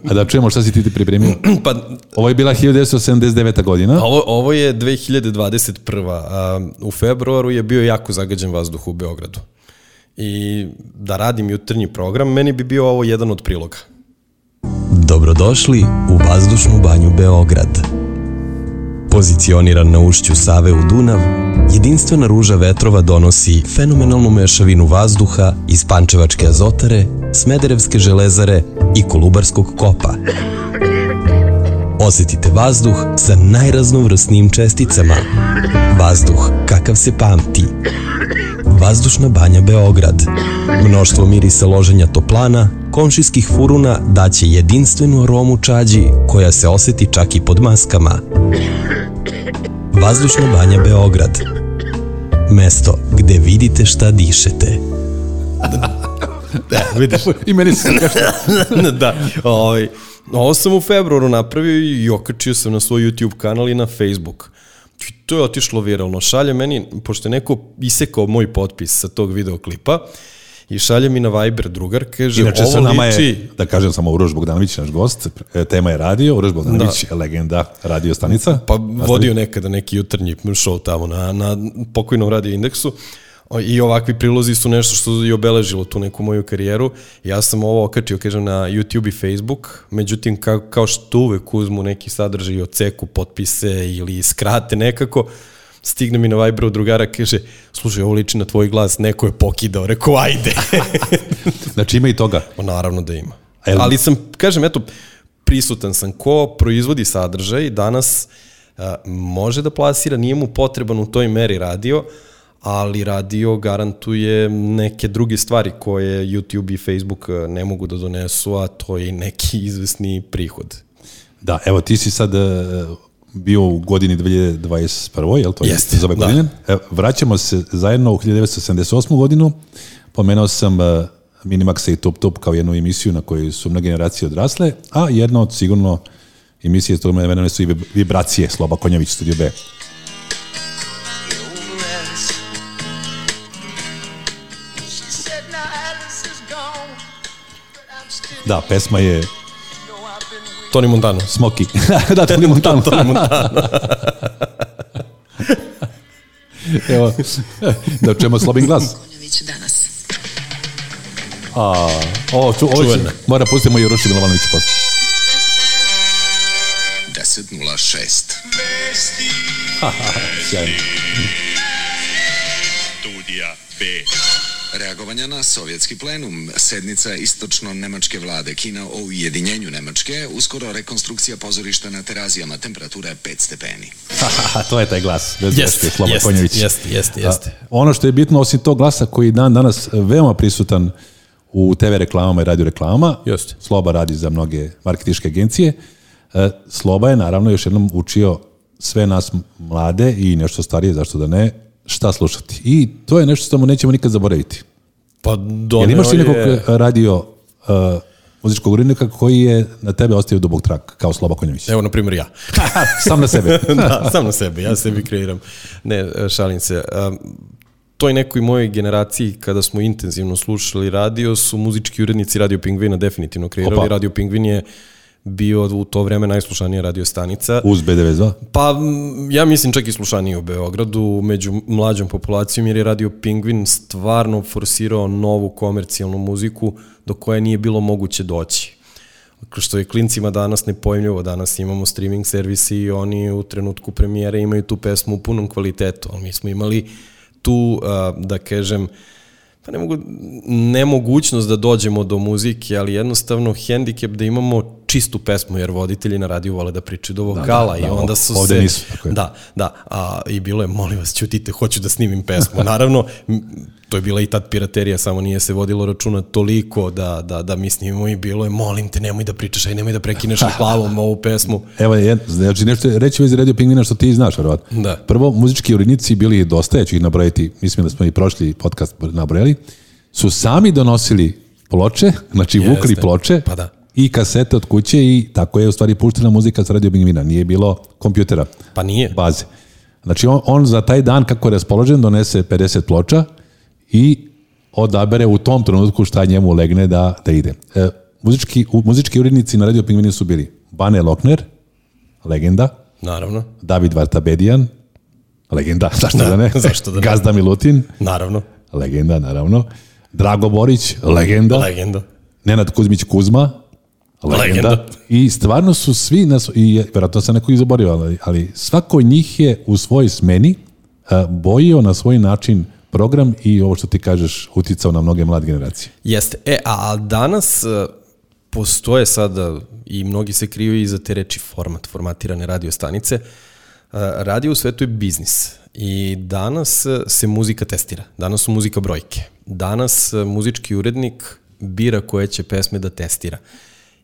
Speaker 2: A da čujemo šta si ti ti pripremio.
Speaker 3: Pa
Speaker 2: Ovo je bila 1979. godina.
Speaker 3: Ovo, ovo je 2021. A, u februaru je bio jako zagađen vazduh u Beogradu. I da radim jutrnji program, meni bi bio ovo jedan od priloga.
Speaker 1: Dobrodošli u vazdušnu banju Beograd. Pozicioniran na ušću Save u Dunav, jedinstvena ruža vetrova donosi fenomenalnu mešavinu vazduha iz Pančevačke azotare, Smederevske železare i Kolubarskog kopa. Osetite vazduh sa najraznovrsnijim česticama. Vazduh kakav se pamti. Vazdušna banja Beograd. Mnoštvo mirisa loženja toplana, komšijskih furuna daće jedinstvenu aromu čađi koja se oseti čak i pod maskama. Vazdušna banja Beograd. Mesto gde vidite šta dišete.
Speaker 2: Vidiš. I meni se kaže.
Speaker 3: da, ovaj, ovo sam u februaru napravio i okačio sam na svoj YouTube kanal i na Facebook. I to je otišlo viralno. Šalje meni, pošto je neko isekao moj potpis sa tog videoklipa, i šalje mi na Viber drugar, kaže,
Speaker 2: Inače, sa
Speaker 3: ovo
Speaker 2: nama
Speaker 3: liči...
Speaker 2: je, da kažem samo Uroš Bogdanović, naš gost. E, Tema je radio, Uroš Bogdanović da. je legenda radio stanica.
Speaker 3: Pa vodio nekada neki jutarnji show tamo na, na pokojnom radio indeksu O, i ovakvi prilozi su nešto što je obeležilo tu neku moju karijeru. Ja sam ovo okačio, kažem, na YouTube i Facebook, međutim, kao, kao što uvek uzmu neki sadržaj i oceku potpise ili skrate nekako, stigne mi na Viberu drugara, kaže, slušaj, ovo liči na tvoj glas, neko je pokidao, rekao, ajde.
Speaker 2: Znači ima i toga.
Speaker 3: Pa naravno da ima.
Speaker 2: Jel-
Speaker 3: Ali sam, kažem, eto, prisutan sam ko proizvodi sadržaj, danas a, može da plasira, nije mu potreban u toj meri radio, ali radio garantuje neke druge stvari koje YouTube i Facebook a, ne mogu da donesu, a to je i neki izvesni prihod.
Speaker 2: Da, evo, ti si sad e, bio u godini 2021. Jel to je
Speaker 3: Jeste,
Speaker 2: iz ove
Speaker 3: da.
Speaker 2: godine? E, vraćamo se zajedno u 1978. godinu. Pomenuo sam e, Minimaxa i Top Top kao jednu emisiju na kojoj su mnoge generacije odrasle, a jedna od sigurno emisije, to mene su i vib- vibracije, Sloba Konjević, Studio B. Da, pesma je
Speaker 3: Tony Montano.
Speaker 2: Smoki. da, Tony Montana. Tony Evo, da čujemo slobin glas.
Speaker 6: Konjović danas.
Speaker 2: O, ču, ovo će,
Speaker 3: Čuvena.
Speaker 2: mora pustimo Jurošu Milovanović posle.
Speaker 7: 10.06.
Speaker 2: Sjajno.
Speaker 7: Reagovanja na sovjetski plenum, sednica istočno-nemačke vlade, Kina o ujedinjenju Nemačke, uskoro rekonstrukcija pozorišta na terazijama, temperatura je 5 stepeni.
Speaker 2: Haha, to je taj glas. Bez
Speaker 3: Jest,
Speaker 2: greške, Sloba
Speaker 3: jest,
Speaker 2: Konjević.
Speaker 3: jest, jest, jest.
Speaker 2: A, ono što je bitno, osim tog glasa koji je dan danas veoma prisutan u TV reklamama i radio reklamama,
Speaker 3: Jeste.
Speaker 2: Sloba radi za mnoge marketiške agencije, e, Sloba je naravno još jednom učio sve nas mlade i nešto starije, zašto da ne, šta slušati. I to je nešto što mu nećemo nikad zaboraviti.
Speaker 3: Pa
Speaker 2: Jel
Speaker 3: doneo
Speaker 2: imaš ti nekog
Speaker 3: je...
Speaker 2: e, radio e, muzičkog urednika koji je na tebe ostavio dubog trak, kao Sloba Konjević?
Speaker 3: Evo, na primjer, ja.
Speaker 2: Sam na sebe.
Speaker 3: da, sam na sebi, ja sebi kreiram. Ne, šalim se. Um, toj nekoj mojoj generaciji kada smo intenzivno slušali radio su muzički urednici Radio Pingvina definitivno kreirali.
Speaker 2: Opa.
Speaker 3: Opa. Radio Pingvin je bio u to vreme najslušanija radio stanica.
Speaker 2: Uz B92.
Speaker 3: Pa m, ja mislim čak i slušaniji u Beogradu među mlađom populacijom jer je Radio Pingvin stvarno forsirao novu komercijalnu muziku do koje nije bilo moguće doći. Dakle, Što je klincima danas nepojmljivo, danas imamo streaming servisi i oni u trenutku premijere imaju tu pesmu u punom kvalitetu, ali mi smo imali tu, a, da kažem, pa ne mogu, nemogućnost da dođemo do muzike, ali jednostavno hendikep da imamo čistu pesmu, jer voditelji na radiju vole da pričaju do vokala da, da, i
Speaker 2: da,
Speaker 3: onda su
Speaker 2: ovde
Speaker 3: se...
Speaker 2: nisu, tako je.
Speaker 3: Da, da, a, i bilo je, molim vas, ćutite, hoću da snimim pesmu. Naravno, m, to je bila i tad piraterija, samo nije se vodilo računa toliko da, da, da mi snimimo i bilo je, molim te, nemoj da pričaš, aj nemoj da prekineš reklavom ovu pesmu.
Speaker 2: Evo, jed, znači nešto reći u vezi radio pingvina što ti znaš, verovatno.
Speaker 3: Da.
Speaker 2: Prvo, muzički urednici bili dosta, ja ću ih nabrojiti, mislim da smo i prošli podcast nabrojali, su sami donosili ploče, znači Jeste. vukli ploče
Speaker 3: Pa da.
Speaker 2: i kasete od kuće i tako je u stvari puštena muzika sa radio pingvina, nije bilo kompjutera,
Speaker 3: Pa nije.
Speaker 2: baze. Znači on, on za taj dan kako je raspoložen donese 50 ploča i odabere u tom trenutku šta njemu legne da, da ide. E, muzički, u, muzički urednici na radio pingvini su bili Bane Lokner, legenda,
Speaker 3: Naravno,
Speaker 2: David Vartabedijan, legenda, zašto da, ne?
Speaker 3: zašto da ne?
Speaker 2: Gazda Milutin,
Speaker 3: naravno,
Speaker 2: legenda naravno, Drago Borić, legenda,
Speaker 3: legenda.
Speaker 2: Nenad Kuzmić Kuzma, legenda.
Speaker 3: Legenda.
Speaker 2: I stvarno su svi, nas, i vjerojatno sam neko izaborio, ali, ali svako od njih je u svojoj smeni uh, bojio na svoj način program i ovo što ti kažeš uticao na mnoge mlade generacije.
Speaker 3: Jeste. E, a a danas e, postoje sada i mnogi se kriju i za te reči format, formatirane radio stanice. E, Radio u svetu je biznis i danas e, se muzika testira. Danas su muzika brojke. Danas e, muzički urednik bira koje će pesme da testira.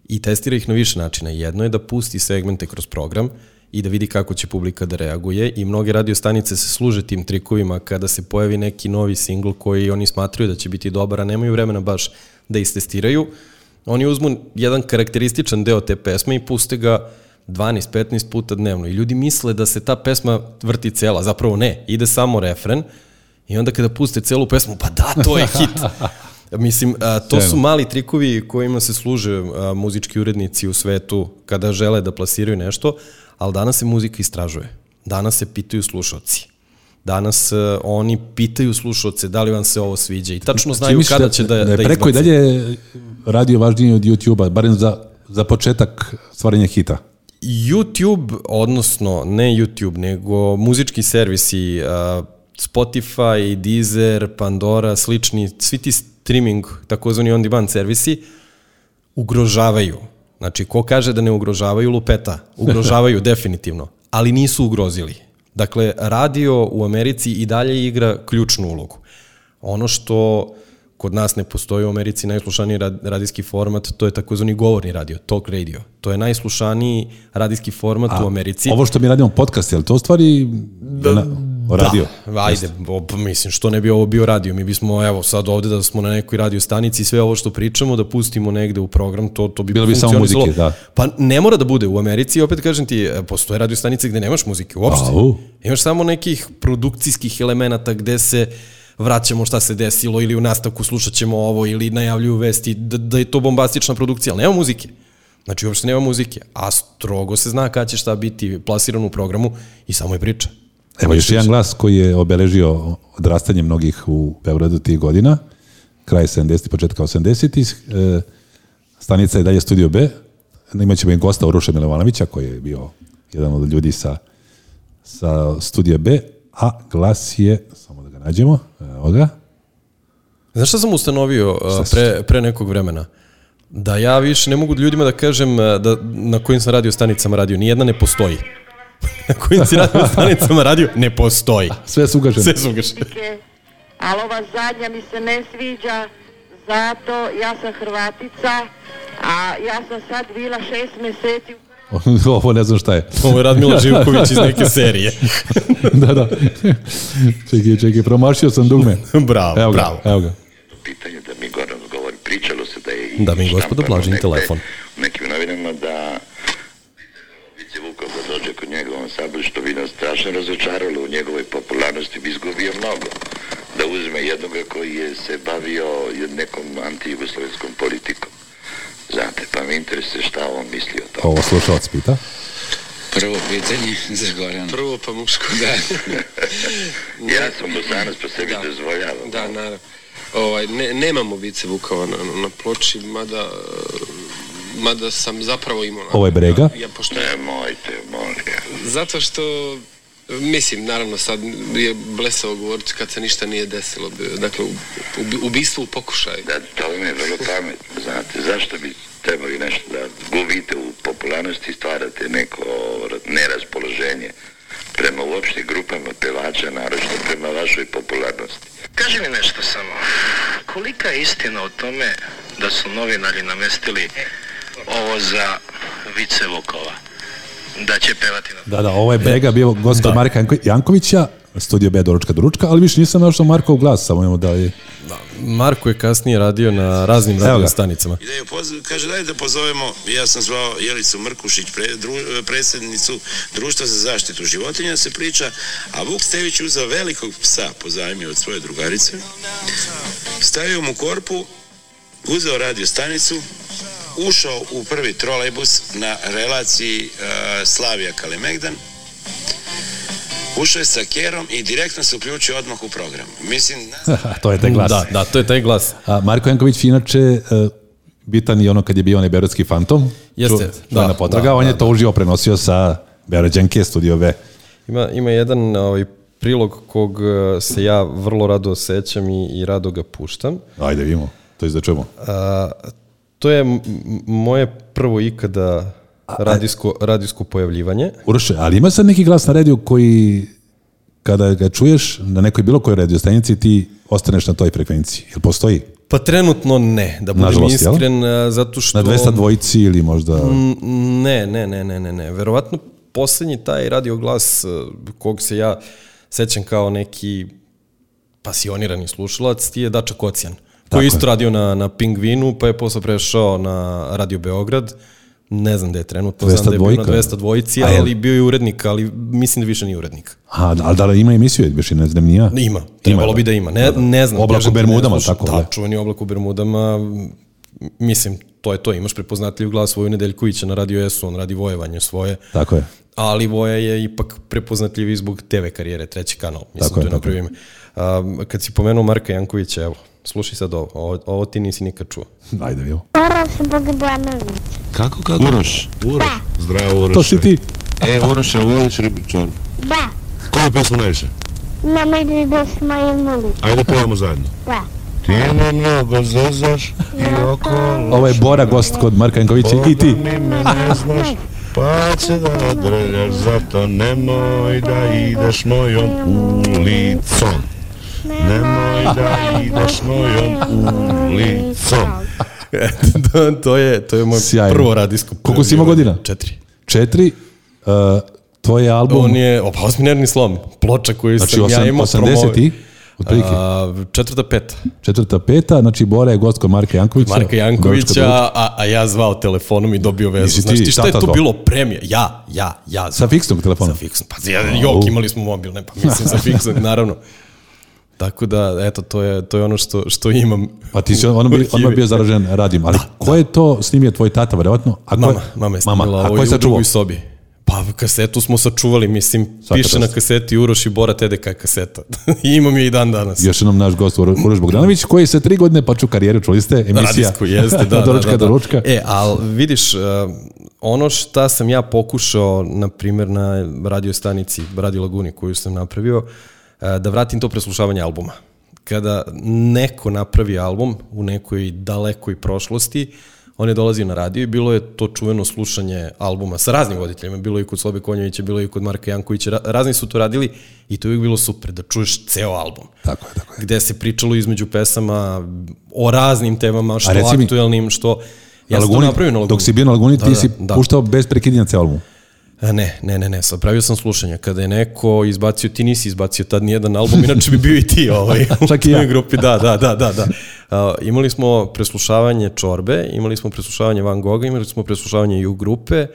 Speaker 3: I testira ih na više načina. Jedno je da pusti segmente kroz program i da vidi kako će publika da reaguje i mnoge radiostanice se služe tim trikovima kada se pojavi neki novi singl koji oni smatraju da će biti dobar, a nemaju vremena baš da istestiraju. Oni uzmu jedan karakterističan deo te pesme i puste ga 12-15 puta dnevno i ljudi misle da se ta pesma vrti cela, zapravo ne, ide samo refren i onda kada puste celu pesmu, pa da, to je hit. Mislim, a, to su mali trikovi kojima se služe a, muzički urednici u svetu kada žele da plasiraju nešto, ali danas se muzika istražuje. Danas se pitaju slušalci. Danas e, oni pitaju slušalce da li vam se ovo sviđa i tačno
Speaker 2: Znači,
Speaker 3: znaju
Speaker 2: misliš
Speaker 3: kada će da, da,
Speaker 2: da je
Speaker 3: da
Speaker 2: preko i
Speaker 3: izbace.
Speaker 2: dalje radio važniji od YouTube-a, barem za, za početak stvaranja hita.
Speaker 3: YouTube, odnosno ne YouTube, nego muzički servisi, a, Spotify, Deezer, Pandora, slični, svi ti streaming, takozvani on-demand servisi, ugrožavaju. Znači, ko kaže da ne ugrožavaju lupeta? Ugrožavaju, definitivno. Ali nisu ugrozili. Dakle, radio u Americi i dalje igra ključnu ulogu. Ono što kod nas ne postoji u Americi najslušaniji rad, radijski format, to je takozvani govorni radio, talk radio. To je najslušaniji radijski format A, u Americi.
Speaker 2: Ovo što mi radimo podcast, je li to u stvari... Da, O radio.
Speaker 3: Da, ajde, ob, mislim, što ne bi ovo bio radio? Mi bismo, evo, sad ovde da smo na nekoj radio stanici i sve ovo što pričamo da pustimo negde u program, to, to bi
Speaker 2: Bilo bi samo
Speaker 3: funkcionisalo.
Speaker 2: muzike, da.
Speaker 3: Pa ne mora da bude u Americi, opet kažem ti, e, postoje radio stanice gde nemaš muzike uopšte.
Speaker 2: Au.
Speaker 3: Imaš samo nekih produkcijskih elemenata gde se vraćamo šta se desilo ili u nastavku slušat ćemo ovo ili najavljuju vesti da, da je to bombastična produkcija, ali nema muzike. Znači uopšte nema muzike, a strogo se zna kada će šta biti plasirano u programu i samo je priča.
Speaker 2: Evo još jedan glas koji je obeležio odrastanje mnogih u Beogradu tih godina, kraj 70. početka 80. E, stanica je dalje Studio B. Imaćemo i gosta Uroša Milovanovića koji je bio jedan od ljudi sa, sa Studio B, a glas je, samo da ga nađemo, evo ga,
Speaker 3: Znaš šta sam ustanovio uh,
Speaker 2: si-
Speaker 3: pre, pre nekog vremena? Da ja više ne mogu ljudima da kažem uh, da na kojim sam radio stanicama radio. Nijedna ne postoji. na kojim si radio stanicama radio ne postoji.
Speaker 2: sve su ugažene.
Speaker 3: Sve su ugašene.
Speaker 6: Hrvatske, ali ova zadnja mi se ne sviđa, zato ja sam Hrvatica, a ja sam sad bila šest meseci u
Speaker 2: Ovo ne znam šta je.
Speaker 3: Ovo je Radmila Živković iz neke serije.
Speaker 2: da, da. čekaj, čekaj, promašio sam dugme.
Speaker 3: bravo,
Speaker 2: Evo ga,
Speaker 3: bravo.
Speaker 2: evo ga.
Speaker 8: pitanje da mi Goran govori. Pričalo se da je...
Speaker 3: Dame i gospodo,
Speaker 8: štampano
Speaker 3: Blažin
Speaker 8: negde
Speaker 3: telefon.
Speaker 8: U nekim novinama da Vice Vukov da dođe kod njega u ansambl, što bi nas strašno razočaralo u njegovoj popularnosti, bi izgubio mnogo. Da uzme jednoga koji je se bavio nekom antijugoslovenskom politikom. Znate, pa me interesuje šta on misli o tome.
Speaker 2: Ovo slušalac pita.
Speaker 7: Prvo pitanje za Gorana.
Speaker 9: Prvo pa muško, da.
Speaker 8: Ja sam bosanac, pa sebi dozvoljavam.
Speaker 9: Da, naravno. Ovaj, ne, nemamo vice Vukova na, na ploči, mada, e, mada sam zapravo imao... na-
Speaker 2: Ovo je Brega.
Speaker 9: Ja, pošto,
Speaker 8: Nemojte, molim. ja.
Speaker 9: zato što, mislim, naravno sad je blesavo govoriti kad se ništa nije desilo. Dakle, u, u, ubistvo u pokušaju.
Speaker 8: E, Da, to mi je vrlo pametno, znate, zašto bi trebali nešto da gubite u popularnosti i stvarate neko neraspoloženje prema uopšte grupama pevača, naročito prema vašoj popularnosti.
Speaker 10: Kaži mi nešto samo. Kolika je istina o tome da su novinari namestili ovo za Vice Vukova? Da će pevati na...
Speaker 2: Da, da, ovo je Brega bio gost da. Marka Janko- Jankovića, studio B Doručka do ručka, ali više nisam našao Markov glas, samo imamo da je...
Speaker 3: Marko je kasnije radio na raznim
Speaker 2: Evo ga.
Speaker 3: radio stanicama.
Speaker 11: Ideju poz... kaže daj da pozovemo, ja sam zvao Jelicu Mrkušić, pre... dru... predsjednicu Društva za zaštitu životinja, da se priča, a Vuk Stević je uzeo velikog psa, pozajmio od svoje drugarice, stavio mu korpu, uzeo radio stanicu, ušao u prvi trolejbus na relaciji e, Slavija Kalemegdan, ušao je sa kerom i direktno se uključio odmah u program. Mislim, ne znam,
Speaker 2: to je taj glas.
Speaker 3: Da, da, to je taj glas.
Speaker 2: A Marko Janković, inače, e, bitan je ono kad je bio onaj Berodski fantom.
Speaker 3: Jeste,
Speaker 2: da,
Speaker 3: da,
Speaker 2: potraga,
Speaker 3: da,
Speaker 2: on je
Speaker 3: da,
Speaker 2: to uživo prenosio sa Berođanke, studio B.
Speaker 3: Ima, ima jedan ovaj, prilog kog eh, se ja vrlo rado sećam i, i rado ga puštam.
Speaker 2: Ajde, vidimo, to izdačujemo.
Speaker 3: A, to je m- m- moje prvo ikada radijsko, radijsko pojavljivanje.
Speaker 2: Uroše, ali ima sad neki glas na rediju koji kada ga čuješ na nekoj bilo kojoj radio stanici ti ostaneš na toj frekvenciji. Jel postoji?
Speaker 3: Pa trenutno ne, da budem
Speaker 2: Nažalost, jel?
Speaker 3: iskren, a, zato što...
Speaker 2: Na 202 ili možda...
Speaker 3: Ne, ne, ne, ne, ne, ne. Verovatno poslednji taj radio glas eh, kog se ja sećam kao neki pasionirani slušalac ti je Dača Kocijan, koji je isto radio na, na Pingvinu, pa je posle prešao na Radio Beograd, ne znam gde je trenutno, znam da je bio na
Speaker 2: 202.
Speaker 3: 202,
Speaker 2: A je li-
Speaker 3: ali bio je urednik, ali mislim da više nije urednik.
Speaker 2: A, ali da li ima emisiju, još i ne znam ni ja.
Speaker 3: Ima, trebalo
Speaker 2: da.
Speaker 3: bi da ima. Ne, ne znam.
Speaker 2: Oblak u
Speaker 3: kažem ti, ne
Speaker 2: Bermudama,
Speaker 3: slušam.
Speaker 2: tako,
Speaker 3: Da,
Speaker 2: da.
Speaker 3: čuveni oblak u Bermudama, m, mislim, to je to. Imaš prepoznatljiv glas Vojine Deljkovića na Radio S-u, on radi vojevanje svoje,
Speaker 2: Tako je.
Speaker 3: ali Voja je ipak prepoznatljiviji zbog TV karijere, treći kanal, mislim,
Speaker 2: Tako je,
Speaker 3: to je
Speaker 2: tako je.
Speaker 3: napravio ime. A, kad si pomenuo Marka Jankovića, evo, slušaj sad ovo, ovo, ovo ti nisi nikad čuo.
Speaker 2: Ajde, vidimo.
Speaker 5: Oroš Bogdanović.
Speaker 11: Kako, kako? Uroš. Uroš. Zdravo, Uroš.
Speaker 2: To si ti.
Speaker 11: E, Uroš, je voliš ribičar?
Speaker 5: Da,
Speaker 11: Koju pesmu najviše?
Speaker 5: mama ide da smajemo
Speaker 11: Ajde pojamo zajedno.
Speaker 5: Da.
Speaker 11: Ti me mnogo zezaš i okolo
Speaker 2: Ovo je ovaj, Bora, gost kod Marka Jankovića i ti.
Speaker 11: mi me ne znaš, pa će da nadrljaš, zato nemoj da ideš mojom ulicom. Nemoj da ideš mojom ulicom.
Speaker 3: to, je, to je moje
Speaker 2: Sjajno.
Speaker 3: prvo radijsko.
Speaker 2: Koliko si imao
Speaker 3: pojavljivanje.
Speaker 2: godina?
Speaker 3: Četiri.
Speaker 2: Četiri. Uh, To je album...
Speaker 3: On je, opa, osmi nervni slom, ploča koju
Speaker 2: Znači,
Speaker 3: sam
Speaker 2: osam-
Speaker 3: ja imao
Speaker 2: 80 i? Otprilike.
Speaker 3: A, četvrta peta.
Speaker 2: Četvrta peta, znači Bora je gost kod Marka Jankovića.
Speaker 3: Marka
Speaker 2: Beogradska
Speaker 3: Jankovića,
Speaker 2: društva.
Speaker 3: a, a ja zvao telefonom i dobio vezu.
Speaker 2: Nisi
Speaker 3: Znaš
Speaker 2: ti
Speaker 3: ti šta je
Speaker 2: tata
Speaker 3: tu
Speaker 2: zvao?
Speaker 3: bilo premije? Ja, ja, ja.
Speaker 2: Sa fiksnog telefona. Sa
Speaker 3: fiksnog, Pa ja, jok, imali smo mobilne, pa mislim za fiksnog, naravno. Tako da, eto, to je, to je ono što, što imam.
Speaker 2: Pa ti si, on, bio, on bio zaražen radim, ali ko je to snimio tvoj tata, verovatno? A ko
Speaker 3: Da, Mama, mama je
Speaker 2: mama.
Speaker 3: snimila ovaj
Speaker 2: a ko
Speaker 3: ovo
Speaker 2: je
Speaker 3: i u
Speaker 2: sačuvao?
Speaker 3: drugoj sobi. Pa kasetu smo sačuvali, mislim,
Speaker 2: Svaka
Speaker 3: piše na
Speaker 2: čast.
Speaker 3: kaseti Uroš i Bora TDK kaseta. I imam je i dan danas.
Speaker 2: Još jednom naš gost Uro- Uroš Bogdanović, koji je sa tri godine počeo karijeru, čuli ste, emisija.
Speaker 3: Radijsku, jeste, da,
Speaker 2: do ručka
Speaker 3: da, da, da.
Speaker 2: do ručka.
Speaker 3: E, ali vidiš, eh, ono šta sam ja pokušao, na primjer, na radio stanici Radio Laguni koju sam napravio, eh, da vratim to preslušavanje albuma. Kada neko napravi album u nekoj dalekoj prošlosti, on je dolazio na radio i bilo je to čuveno slušanje albuma sa raznim voditeljima, bilo je i kod Slobe Konjevića, bilo je i kod Marka Jankovića, ra- razni su to radili i to je uvijek bilo super da čuješ ceo album.
Speaker 2: Tako je, tako
Speaker 3: je. Gde se pričalo između pesama o raznim temama, što
Speaker 2: reci mi,
Speaker 3: aktuelnim, što...
Speaker 2: Na
Speaker 3: Ja sam to
Speaker 2: Laguni,
Speaker 3: napravio na Laguni.
Speaker 2: Dok si bio na Laguni,
Speaker 3: Da,
Speaker 2: ti
Speaker 3: da,
Speaker 2: si
Speaker 3: da.
Speaker 2: puštao bez prekidanja ceo album.
Speaker 3: E, Ne, ne, ne, ne, sad pravio sam slušanja. Kada je neko izbacio, ti nisi izbacio tad nijedan album, inače bi bio i ti ovaj,
Speaker 2: Čak i
Speaker 3: u
Speaker 2: ja.
Speaker 3: toj grupi, da, da, da, da. da. A, imali smo preslušavanje Čorbe, imali smo preslušavanje Van Goga, imali smo preslušavanje Ju grupe,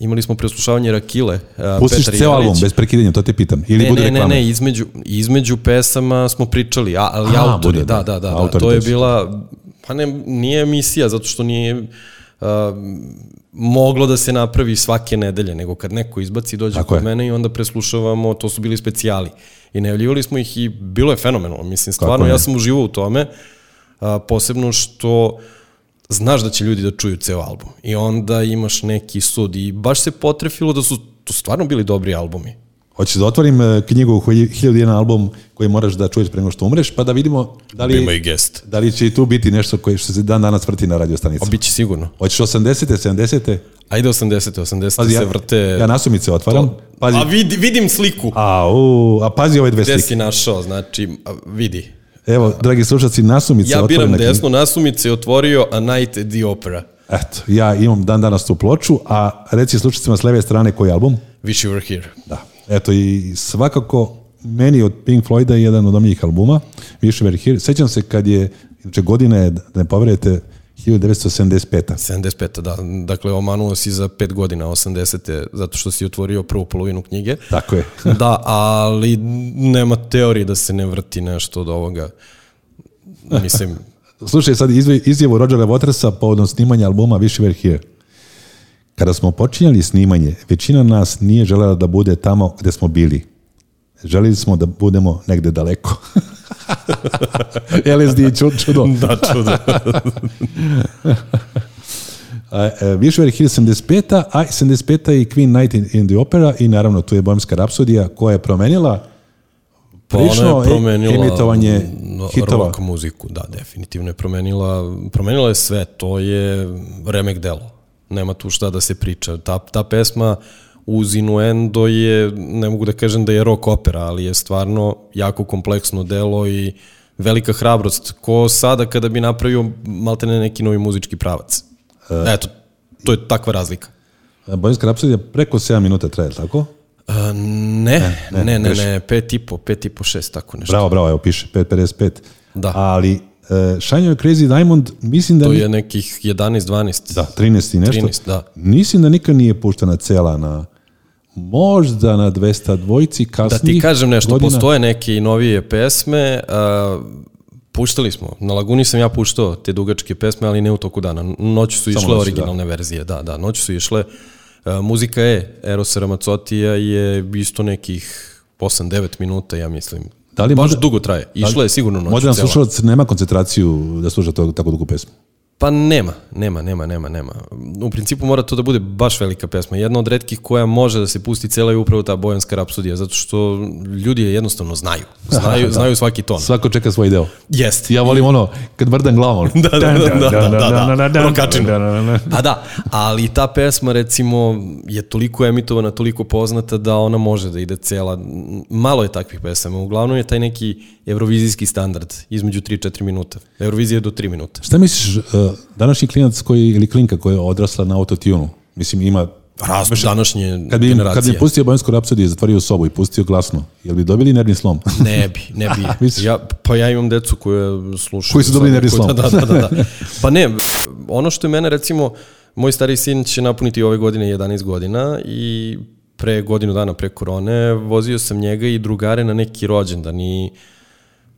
Speaker 3: imali smo preslušavanje Rakile. a,
Speaker 2: Pustiš
Speaker 3: Petar
Speaker 2: ceo
Speaker 3: Jelić.
Speaker 2: album bez prekidanja, to te pitam. Ili
Speaker 3: ne,
Speaker 2: bude
Speaker 3: ne,
Speaker 2: reklama?
Speaker 3: ne, ne, između, između pesama smo pričali, a, ali
Speaker 2: A,
Speaker 3: autori,
Speaker 2: bude, da.
Speaker 3: da, da, da, da,
Speaker 2: Autori
Speaker 3: to je
Speaker 2: teksta.
Speaker 3: bila, pa ne, nije emisija, zato što nije uh, moglo da se napravi svake nedelje, nego kad neko izbaci, dođe
Speaker 2: Tako
Speaker 3: kod
Speaker 2: je.
Speaker 3: mene i onda preslušavamo, to su bili specijali. I najavljivali smo ih i bilo je fenomenalno, mislim,
Speaker 2: Kako
Speaker 3: stvarno,
Speaker 2: ne?
Speaker 3: ja sam uživao u tome, a, posebno što znaš da će ljudi da čuju ceo album i onda imaš neki sud i baš se potrefilo da su to stvarno bili dobri albumi.
Speaker 2: Hoćeš da otvorim e, knjigu koji- 1001 album koji moraš da čuješ pre nego što umreš, pa da vidimo da li,
Speaker 3: Ima i gest.
Speaker 2: da li će i tu biti nešto koje što se dan danas vrti na radio stanici.
Speaker 3: Biće sigurno.
Speaker 2: Hoćeš 80-te, 70-te?
Speaker 3: Ajde 80-te, 80-te
Speaker 2: Pazi,
Speaker 3: Da se
Speaker 2: ja,
Speaker 3: vrte...
Speaker 2: ja nasumice otvaram. Pazi,
Speaker 3: A vidi, vidim sliku.
Speaker 2: a, u, a pazi ove dve
Speaker 3: Gde
Speaker 2: slike.
Speaker 3: si našao, znači, a, vidi.
Speaker 2: Evo, dragi slušalci, nasumice
Speaker 3: Ja biram
Speaker 2: otvorena knjiga.
Speaker 3: desno, nasumice je otvorio A Night at the Opera.
Speaker 2: Eto, ja imam dan danas tu ploču, a reci slušalcima s leve strane koji album.
Speaker 3: Wish You Were Here.
Speaker 2: Da. Eto i svakako meni od Pink Floyda je jedan od omljih albuma, Više Very Here. Sećam se kad je, inače godina je, da ne poverujete, 1975.
Speaker 3: 75. da. Dakle, omanuo si za pet godina, 80. zato što si otvorio prvu polovinu knjige.
Speaker 2: Tako je.
Speaker 3: da, ali nema teorije da se ne vrti nešto od ovoga. Mislim,
Speaker 2: Slušaj sad izve- izjavu Rodgera Watersa povodom snimanja albuma Više Very Here. Kada smo počinjali snimanje, većina nas nije želela da bude tamo gde smo bili. Želili smo da budemo negde daleko. LSD je ču- čudo.
Speaker 3: da, čudo.
Speaker 2: A, e, Više Very Hill 75-a, a 75-a i Queen Night in, in the Opera i naravno tu je Bojemska rapsodija koja je promenila
Speaker 3: Pa ona
Speaker 2: prilično
Speaker 3: je promenila
Speaker 2: emitovanje
Speaker 3: no,
Speaker 2: hitova.
Speaker 3: rock muziku, da, definitivno je promenila, promenila je sve, to je remek delo. Nema tu šta da se priča. Ta, ta pesma uz Inuendo je, ne mogu da kažem da je rock opera, ali je stvarno jako kompleksno delo i velika hrabrost. Ko sada kada bi napravio maltene neki novi muzički pravac.
Speaker 2: E.
Speaker 3: Eto, to je takva razlika.
Speaker 2: Bojemska rapsodija e, preko 7 minuta traje, jel tako?
Speaker 3: A, E, ne,
Speaker 2: E, ne,
Speaker 3: ne, ne, ne,
Speaker 2: grešim.
Speaker 3: pet i po, pet i po, šest, tako nešto.
Speaker 2: Bravo, bravo, evo piše, 5.55. Da. Ali e, Shine Your Crazy Diamond, mislim da...
Speaker 3: To
Speaker 2: ni-
Speaker 3: je nekih 11, 12.
Speaker 2: Da, 13 i nešto.
Speaker 3: 13, da.
Speaker 2: Mislim da nikad nije puštena cela na možda na 200 dvojci
Speaker 3: Da
Speaker 2: kasnije.
Speaker 3: ti kažem nešto, postoje neke i novije pesme, a, puštali smo, na Laguni sam ja puštao te dugačke pesme, ali ne u toku dana, noću su
Speaker 2: Samo
Speaker 3: išle
Speaker 2: noću, da.
Speaker 3: originalne verzije, da, da, noću su išle, A, muzika je, Eros Ramacotija je isto nekih 8-9 minuta, ja mislim,
Speaker 2: Da li
Speaker 3: baš
Speaker 2: možda-
Speaker 3: dugo traje, išla je sigurno noću
Speaker 2: Možda nam
Speaker 3: cela.
Speaker 2: slušalac nema koncentraciju da sluša to, tako dugu pesmu.
Speaker 3: Pa nema, nema, nema, nema, nema. U principu mora to da bude baš velika pesma. Jedna od retkih koja može da se pusti cela je upravo ta bojanska rapsodija, zato što ljudi je jednostavno znaju. Znaju,
Speaker 2: Da.
Speaker 3: znaju svaki ton.
Speaker 2: Svako čeka svoj deo.
Speaker 3: Jeste.
Speaker 2: Ja volim ono, kad vrdan glavom.
Speaker 3: Da, da, da, da, da, da, da, da,
Speaker 2: Rokačinu.
Speaker 3: Pa da, ali ta pesma recimo je toliko emitovana, toliko poznata da ona može da ide cela. Malo je takvih pesama. Uglavnom je taj neki evrovizijski standard između 3-4 minuta. Eurovizija je do 3 minuta.
Speaker 2: Šta misliš, e, današnji klinac koji, ili klinka koja je odrasla na autotunu, mislim ima
Speaker 3: Razum, današnje
Speaker 2: Kad bi, im-
Speaker 3: generacije.
Speaker 2: kad bi im pustio Bojansku rapsodiju i zatvorio sobu i pustio glasno, jel bi dobili nervni slom?
Speaker 3: Ne bi, ne bi.
Speaker 2: Misliš?
Speaker 3: ja, pa ja imam decu koje slušaju.
Speaker 2: Koji su dobili
Speaker 3: sad,
Speaker 2: nervni slom.
Speaker 3: Da, da, da, da. Pa ne, ono što je mene recimo, moj stariji sin će napuniti ove godine 11 godina i pre godinu dana, pre korone, vozio sam njega i drugare na neki rođendan i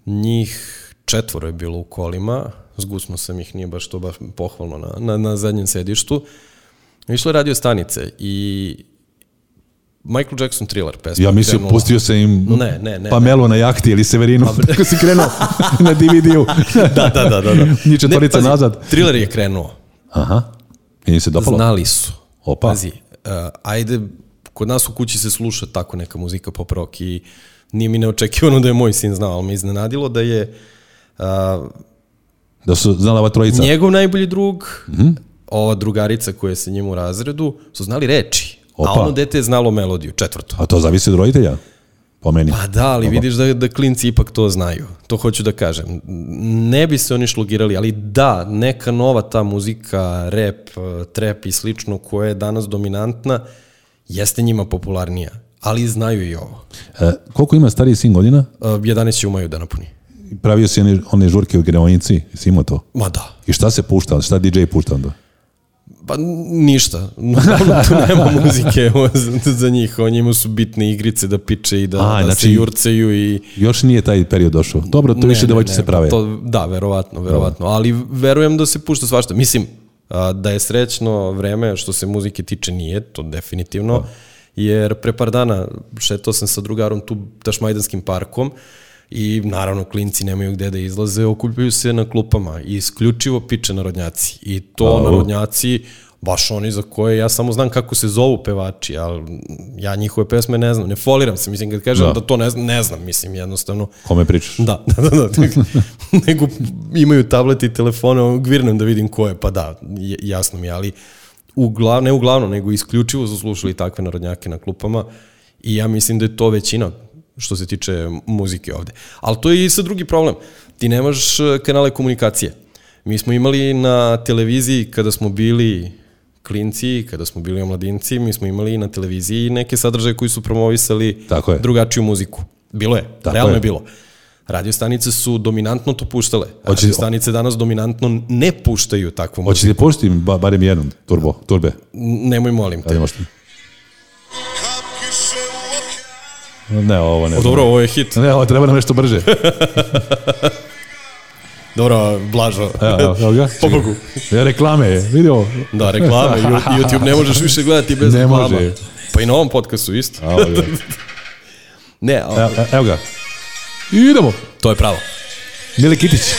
Speaker 3: njih četvoro je bilo u kolima, zgusno sam ih, nije baš to baš pohvalno na, na, na zadnjem sedištu. Išlo je radio stanice i Michael Jackson thriller pesma.
Speaker 2: Ja mislim,
Speaker 3: krenula.
Speaker 2: pustio sam im Pa
Speaker 3: ne, ne, ne,
Speaker 2: Pamelu na jahti ili Severinu, tako si krenuo na DVD-u.
Speaker 3: da, da, da, da. da.
Speaker 2: Ni četvorica
Speaker 3: Ne, pazi,
Speaker 2: nazad.
Speaker 3: Thriller je krenuo.
Speaker 2: Aha. I im se dopalo?
Speaker 3: Znali su.
Speaker 2: Opa.
Speaker 3: Pazi, uh, ajde, kod nas u kući se sluša tako neka muzika pop rock i nije mi neočekivano da je moj sin znao, ali me iznenadilo da je uh,
Speaker 2: Da su znala ova trojica.
Speaker 3: njegov najbolji drug,
Speaker 2: Mhm.
Speaker 3: ova drugarica koja je sa njim u razredu, su znali reči.
Speaker 2: Opa.
Speaker 3: A ono dete je znalo melodiju, četvrtu.
Speaker 2: A to zavisi od roditelja, po meni.
Speaker 3: Pa da, ali vidiš da, da klinci ipak to znaju. To hoću da kažem. Ne bi se oni šlogirali, ali da, neka nova ta muzika, rap, eh, trap i slično koja je danas dominantna, jeste njima popularnija. Ali znaju i ovo.
Speaker 2: E, koliko ima stariji sin godina?
Speaker 3: Eh, 11 će u maju da napuni.
Speaker 2: Pravio si one, one žurke u Greonici, si imao to?
Speaker 3: Ma da.
Speaker 2: I šta se pušta, šta DJ pušta onda?
Speaker 3: Pa n- ništa. Uglavnom tu nema muzike za njih. O njima su bitne igrice da piče i da,
Speaker 2: A,
Speaker 3: da se
Speaker 2: znači-
Speaker 3: jurceju i...
Speaker 2: Još nije taj period došao. Dobro, da to
Speaker 3: Ne,
Speaker 2: više
Speaker 3: ne,
Speaker 2: devojče
Speaker 3: ne,
Speaker 2: se prave.
Speaker 3: To, da, verovatno, verovatno. Ali verujem da se pušta svašta. Mislim, a, da je srećno vreme što se muzike tiče nije, to definitivno.
Speaker 2: Da.
Speaker 3: Jer pre par dana šetao sam sa drugarom tu Tašmajdanskim parkom i naravno klinci nemaju gde da izlaze, okupljaju se na klupama i isključivo piče narodnjaci. I to
Speaker 2: Au.
Speaker 3: narodnjaci, baš oni za koje ja samo znam kako se zovu pevači, ali ja njihove pesme ne znam, ne foliram se, mislim kad kažem
Speaker 2: Da.
Speaker 3: da, to ne znam, ne znam, mislim jednostavno
Speaker 2: Kome pričaš?
Speaker 3: da, da, da, da. Nego imaju tablet i telefone, ono, gvirnem da vidim ko je, pa da, j- jasno mi, je, ali uglavnom, ne uglavnom, nego isključivo su slušali takve narodnjake na klupama i ja mislim da je to većina što se tiče muzike ovde. Ali to je i sad drugi problem. Ti nemaš e, kanale komunikacije. Mi smo imali na televiziji kada smo bili klinci, kada smo bili omladinci, mi smo imali na televiziji neke sadržaje koji su promovisali
Speaker 2: Tako je.
Speaker 3: drugačiju muziku. Bilo je,
Speaker 2: Tako
Speaker 3: realno
Speaker 2: je.
Speaker 3: je bilo. Radio stanice su dominantno to puštale.
Speaker 2: Hoće-
Speaker 3: Radio stanice danas dominantno ne puštaju takvu muziku.
Speaker 2: Hoćeš li pušti ba, barem jednom turbo, turbe? Da
Speaker 3: Nemoj molim te.
Speaker 2: Ali možda. Ne, ovo ne.
Speaker 3: O, dobro, ovo je hit.
Speaker 2: Ne, ovo treba nam nešto brže.
Speaker 3: Dobro, blažo.
Speaker 2: Evo, evo, evo ga.
Speaker 3: Pobogu.
Speaker 2: E, reklame, je, vidi ovo.
Speaker 3: Da, reklame. Ju- YouTube ne možeš više gledati bez
Speaker 2: Ne
Speaker 3: reklama.
Speaker 2: može.
Speaker 3: Pa i na ovom podcastu isto.
Speaker 2: A, ovo je.
Speaker 3: Ne, a-
Speaker 2: Evo, evo ga. Idemo.
Speaker 3: to je pravo.
Speaker 2: Mile Kitić.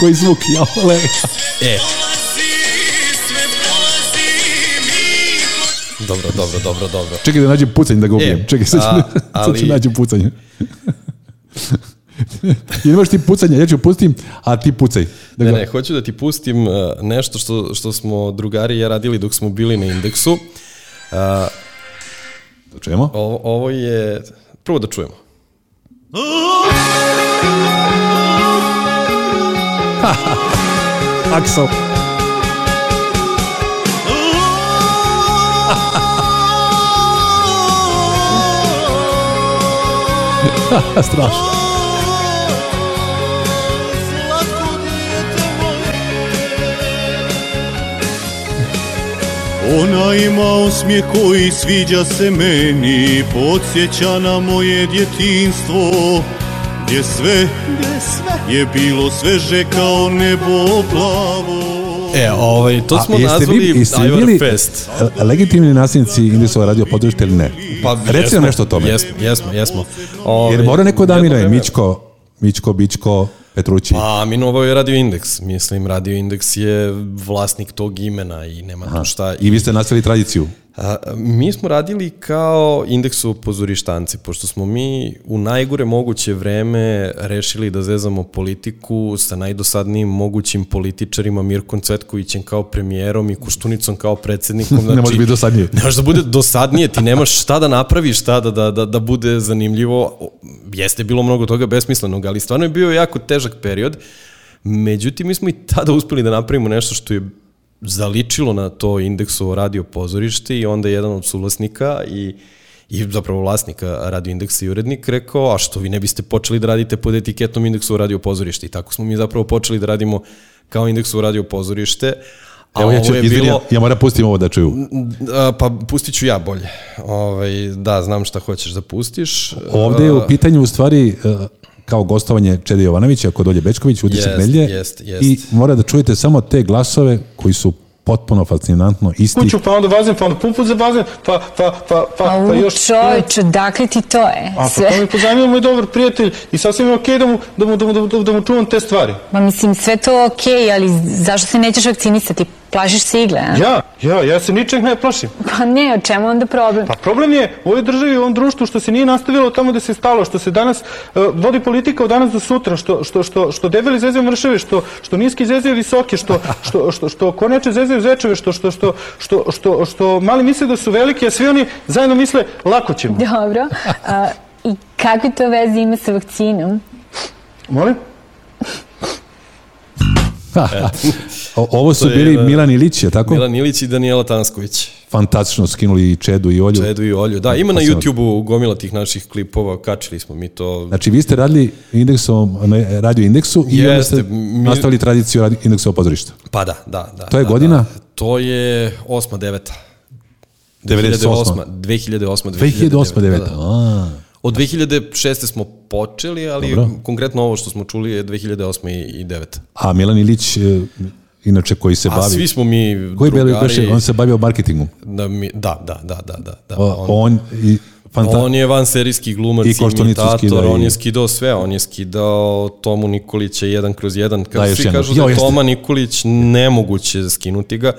Speaker 2: Koji zvuk, javole.
Speaker 3: E. Dobro, dobro, dobro, dobro.
Speaker 2: Čekaj da nađem pucanj da ga ubijem.
Speaker 3: E,
Speaker 2: Čekaj, sad, ću-
Speaker 3: a,
Speaker 2: sad ću
Speaker 3: ali-
Speaker 2: nađem pucanje. Ili imaš ti pucanje, ja ću pustim, a ti pucaj. Da
Speaker 3: Ne,
Speaker 2: ga-
Speaker 3: ne, hoću da ti pustim uh, nešto što, što smo drugari i ja radili dok smo bili na indeksu. Uh,
Speaker 2: Da čujemo.
Speaker 3: Ovo, ovo je... Prvo da čujemo.
Speaker 2: Aksel. Strašno.
Speaker 12: Ona ima osmije koji sviđa se meni Podsjeća na moje djetinstvo Gdje sve, je bilo sveže kao nebo plavo
Speaker 3: E, ovaj, to smo nazvali Ivar Fest.
Speaker 2: e, legitimni nasljednici Indisova radio podružite ili ne?
Speaker 3: Pa,
Speaker 2: Reci nam nešto o tome.
Speaker 3: Jesmo, jesmo, jesmo. Ovaj,
Speaker 2: Jer mora neko da
Speaker 3: jedno
Speaker 2: Amira,
Speaker 3: vreme-
Speaker 2: Mičko, Mičko, Bičko, Petrući.
Speaker 3: Pa, aminovao je Radio Index. Mislim, Radio Index je vlasnik tog imena i nema tu šta.
Speaker 2: I vi ste nastavili tradiciju.
Speaker 3: A, mi smo radili kao indeksu pozorištanci, pošto smo mi u najgore moguće vreme rešili da zezamo politiku sa najdosadnijim mogućim političarima Mirkom Cvetkovićem kao premijerom i Koštunicom kao predsednikom. Znači,
Speaker 2: Ne može biti dosadnije.
Speaker 3: Ne može da bude dosadnije, ti nemaš šta da napraviš, šta da, da, da, da bude zanimljivo. O, Jeste bilo mnogo toga besmislenog, ali stvarno je bio jako težak period. Međutim, mi smo i tada uspeli da napravimo nešto što je zaličilo na to indeksovo radio pozorište i onda jedan od suvlasnika i i zapravo vlasnika Radio Indeksa i urednik rekao, a što vi ne biste počeli da radite pod etiketom Indeksu radio pozorište i tako smo mi zapravo počeli da radimo kao Indeksu radio pozorište, a
Speaker 2: Evo, ja, ću, da
Speaker 3: ovo je
Speaker 2: izvini,
Speaker 3: bilo...
Speaker 2: ja moram pustim ovo da čuju.
Speaker 3: A, pa pustit ću ja bolje. Ovaj, da, znam šta hoćeš da pustiš.
Speaker 2: Ovde je u
Speaker 3: A,
Speaker 2: pitanju u stvari e, kao gostovanje Čede Jovanovića kod Olje Bečković, utisak
Speaker 3: Jest,
Speaker 2: nedelje.
Speaker 3: jest, jest.
Speaker 2: I mora da čujete samo te glasove koji su potpuno fascinantno isti.
Speaker 13: kuću, pa onda bazen, pa onda puput za bazen, pa, pa, pa, pa, pa
Speaker 14: U,
Speaker 13: još...
Speaker 14: čovječe, dakle ti to je?
Speaker 13: A pa
Speaker 14: sve?
Speaker 13: to mi je pozajmio moj dobar prijatelj i sasvim je okej da, mu, da, mu, da, mu, da, mu- da mu čuvam te stvari.
Speaker 14: Ma mislim, sve to okej, ali zašto se nećeš vakcinisati? Plašiš se igle, a?
Speaker 13: Ja, ja, ja se ničeg ne plašim.
Speaker 14: Pa ne, o čemu onda problem?
Speaker 13: Pa problem je u ovoj državi, u ovom društvu što se nije nastavilo tamo da se stalo, što se danas e, vodi politika od danas do sutra, što, što, što, što debeli zezaju mršave, što, što niski zezaju visoke, što, što, što, što koneče zezaju zečeve, što, što, što, što, što, što mali misle da su veliki, a svi oni zajedno misle lako ćemo.
Speaker 14: Dobro. A, I kakve to veze ima sa vakcinom?
Speaker 13: Molim?
Speaker 2: O- Ovo su
Speaker 3: To je
Speaker 2: bili
Speaker 3: jedan-
Speaker 2: Milan Ilić, je tako?
Speaker 3: Milan Ilić i Danijela Tansković.
Speaker 2: Fantastično skinuli i Čedu i Olju.
Speaker 3: Čedu i Olju. Da, ima na
Speaker 2: Fascinantno.
Speaker 3: YouTube-u gomila tih naših klipova, kačili smo mi to.
Speaker 2: Znači, vi ste radili indeksom, na radio indeksu i onda
Speaker 3: Jeste,
Speaker 2: ste
Speaker 3: mi-
Speaker 2: nastavili tradiciju radio indeksa opozorišta.
Speaker 3: Pa da, da, da.
Speaker 2: To je
Speaker 3: da,
Speaker 2: godina?
Speaker 3: Da. To je osma, deveta.
Speaker 2: 98..
Speaker 3: 2008.
Speaker 2: 2008.
Speaker 3: 2009.
Speaker 2: 9.
Speaker 3: Da. Od 2006. smo počeli, ali
Speaker 2: Dobro.
Speaker 3: konkretno ovo što smo čuli je 2008. i, i 9.
Speaker 2: A Milan Ilić, e, inače koji se
Speaker 3: A
Speaker 2: bavi...
Speaker 3: svi smo mi
Speaker 2: Koji je
Speaker 3: drugari.
Speaker 2: beše, on se bavio marketingom.
Speaker 3: Da, mi, da, da, da, da, da. da.
Speaker 2: O, on, i fanta-
Speaker 3: On je van serijski glumac,
Speaker 2: I
Speaker 3: I
Speaker 2: Koštunicu
Speaker 3: imitator,
Speaker 2: skida i-
Speaker 3: on je skidao sve, on je skidao Tomu Nikolića jedan kroz jedan. Kad
Speaker 2: Da,
Speaker 3: da,
Speaker 2: još
Speaker 3: svi
Speaker 2: jedno.
Speaker 3: kažu da
Speaker 2: Jo,
Speaker 3: je
Speaker 2: jeste.
Speaker 3: Toma Nikolić nemoguće skinuti ga,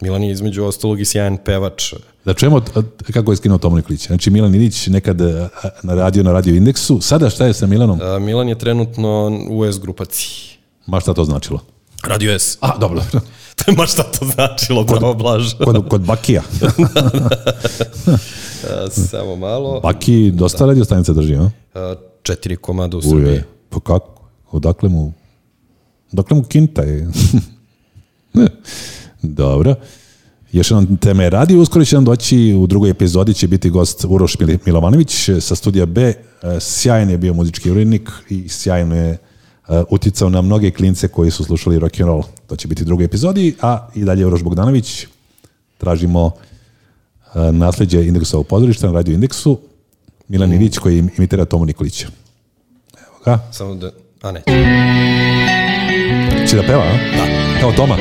Speaker 3: Milan je između ostalog i sjajan pevač. E,
Speaker 2: Da čujemo t- t- kako je skinuo Tomo Nikolić. Znači, Milan Ilić nekad e, na radio, na radio indeksu. Sada šta je sa Milanom?
Speaker 3: A, Milan je trenutno u S grupaciji.
Speaker 2: Ma šta to značilo?
Speaker 3: Radio S.
Speaker 2: A, dobro, dobro.
Speaker 3: to je ma šta to značilo, da bravo Blaž.
Speaker 2: Kod, kod Bakija.
Speaker 3: A, Samo malo.
Speaker 2: Baki dosta radio stanica drži, a?
Speaker 3: A, Četiri komada u Srbiji.
Speaker 2: Uje, pa kako? Odakle mu? Odakle mu kinta je? Dobro. Još jedan tema je radi, uskoro će nam doći u drugoj epizodi će biti gost Uroš Mil- Milovanović e, sa studija B. E, Sjajan je bio muzički urednik i sjajno je e, uticao na mnoge klince koji su slušali rock and roll. To će biti u drugoj epizodi, a i dalje Uroš Bogdanović. Tražimo e, nasleđe indeksovog pozorišta na radio indeksu. Milan Ilić koji im- imitira Tomu Nikolića. Evo ga.
Speaker 3: Samo da... A ne.
Speaker 2: Će da peva, a? Da. Kao Toma.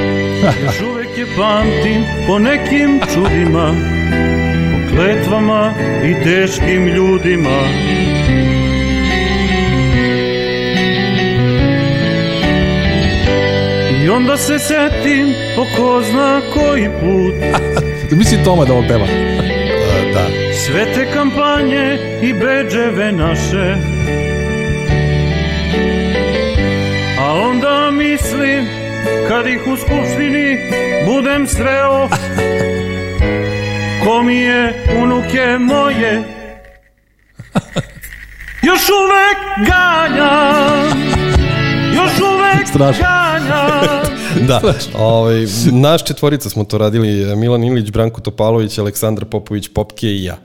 Speaker 15: Još uvek je pamtim po nekim čudima Po kletvama i teškim ljudima I onda se setim po ko zna koji put
Speaker 2: Misli Toma da ovo peva.
Speaker 3: da.
Speaker 15: Sve te kampanje i beđeve naše A onda mislim kad ih u skupštini budem sreo Ko mi je unuke moje Još uvek ganjam Još uvek
Speaker 3: Strašno.
Speaker 15: ganjam
Speaker 3: da, ovaj, naš četvorica smo to radili, Milan Ilić, Branko Topalović, Aleksandar Popović, Popke i ja.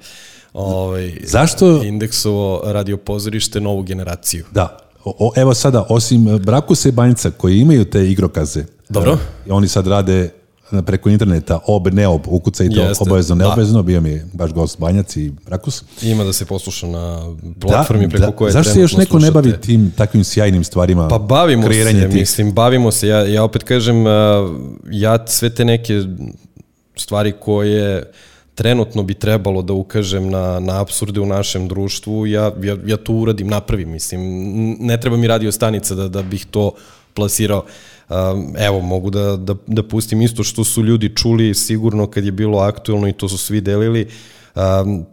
Speaker 3: Ovaj,
Speaker 2: Zašto?
Speaker 3: Indeksovo radio pozorište, novu generaciju.
Speaker 2: Da. O, o, evo sada, osim e, Brakusa i Banjica koji imaju te igrokaze.
Speaker 3: Dobro.
Speaker 2: e, oni sad rade e, preko interneta, ob, ne ob, ukucajte
Speaker 3: Jeste,
Speaker 2: obavezno,
Speaker 3: da.
Speaker 2: neobavezno, bio mi je baš gost Banjac i Brakus.
Speaker 3: Ima da se posluša na platformi preko koje
Speaker 2: Da, Zašto se još neko
Speaker 3: trenutno
Speaker 2: ne
Speaker 3: slušate.
Speaker 2: bavi tim takvim sjajnim stvarima?
Speaker 3: Pa bavimo se,
Speaker 2: kreiranje tih.
Speaker 3: mislim, bavimo se. Ja, ja opet kažem, uh, ja sve te neke stvari koje trenutno bi trebalo da ukažem na, na absurde u našem društvu, ja, ja, ja to uradim, napravim, mislim. N- Ne treba mi radio stanica da, da bih to plasirao. Um, Evo, mogu da, da, da pustim isto što su ljudi čuli sigurno kad je bilo aktuelno i to su svi delili. Um,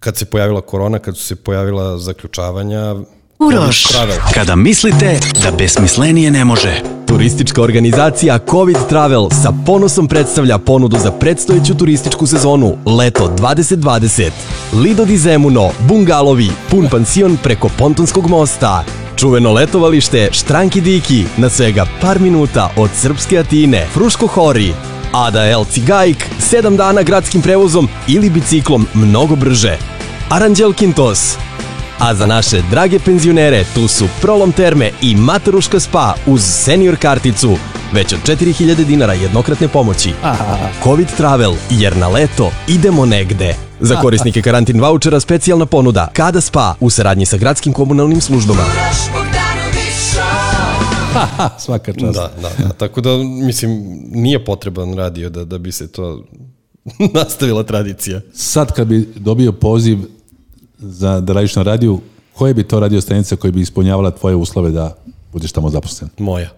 Speaker 3: Kad se pojavila korona, kad su se pojavila zaključavanja,
Speaker 16: Uroš.
Speaker 3: Travel.
Speaker 16: Kada mislite da besmislenije ne može.
Speaker 17: Turistička organizacija COVID Travel sa ponosom predstavlja ponudu za predstojeću turističku sezonu Leto 2020. Lido di Zemuno, bungalovi, pun pansion preko Pontonskog mosta. Čuveno letovalište Štranki Diki na svega par minuta od Srpske Atine, Fruško Hori,
Speaker 1: Ada El Cigajik 7 dana gradskim prevozom ili biciklom mnogo brže. Aranđel Kintos. A za naše drage penzionere tu su Prolom Terme i Mataruška Spa uz senior karticu, već od 4000 dinara jednokratne pomoći. Covid Travel, jer na leto idemo negde. Za korisnike karantin vouchera specijalna ponuda Kada Spa u saradnji sa gradskim komunalnim službama.
Speaker 2: Svaka
Speaker 3: čast. Da, da, da. Tako da, mislim, nije potreban radio da, da bi se to nastavila tradicija.
Speaker 2: Sad kad bi dobio poziv za, da radiš na radiju, koje bi to radio stanica koja bi ispunjavala tvoje uslove da budeš tamo zaposlen?
Speaker 3: Moja.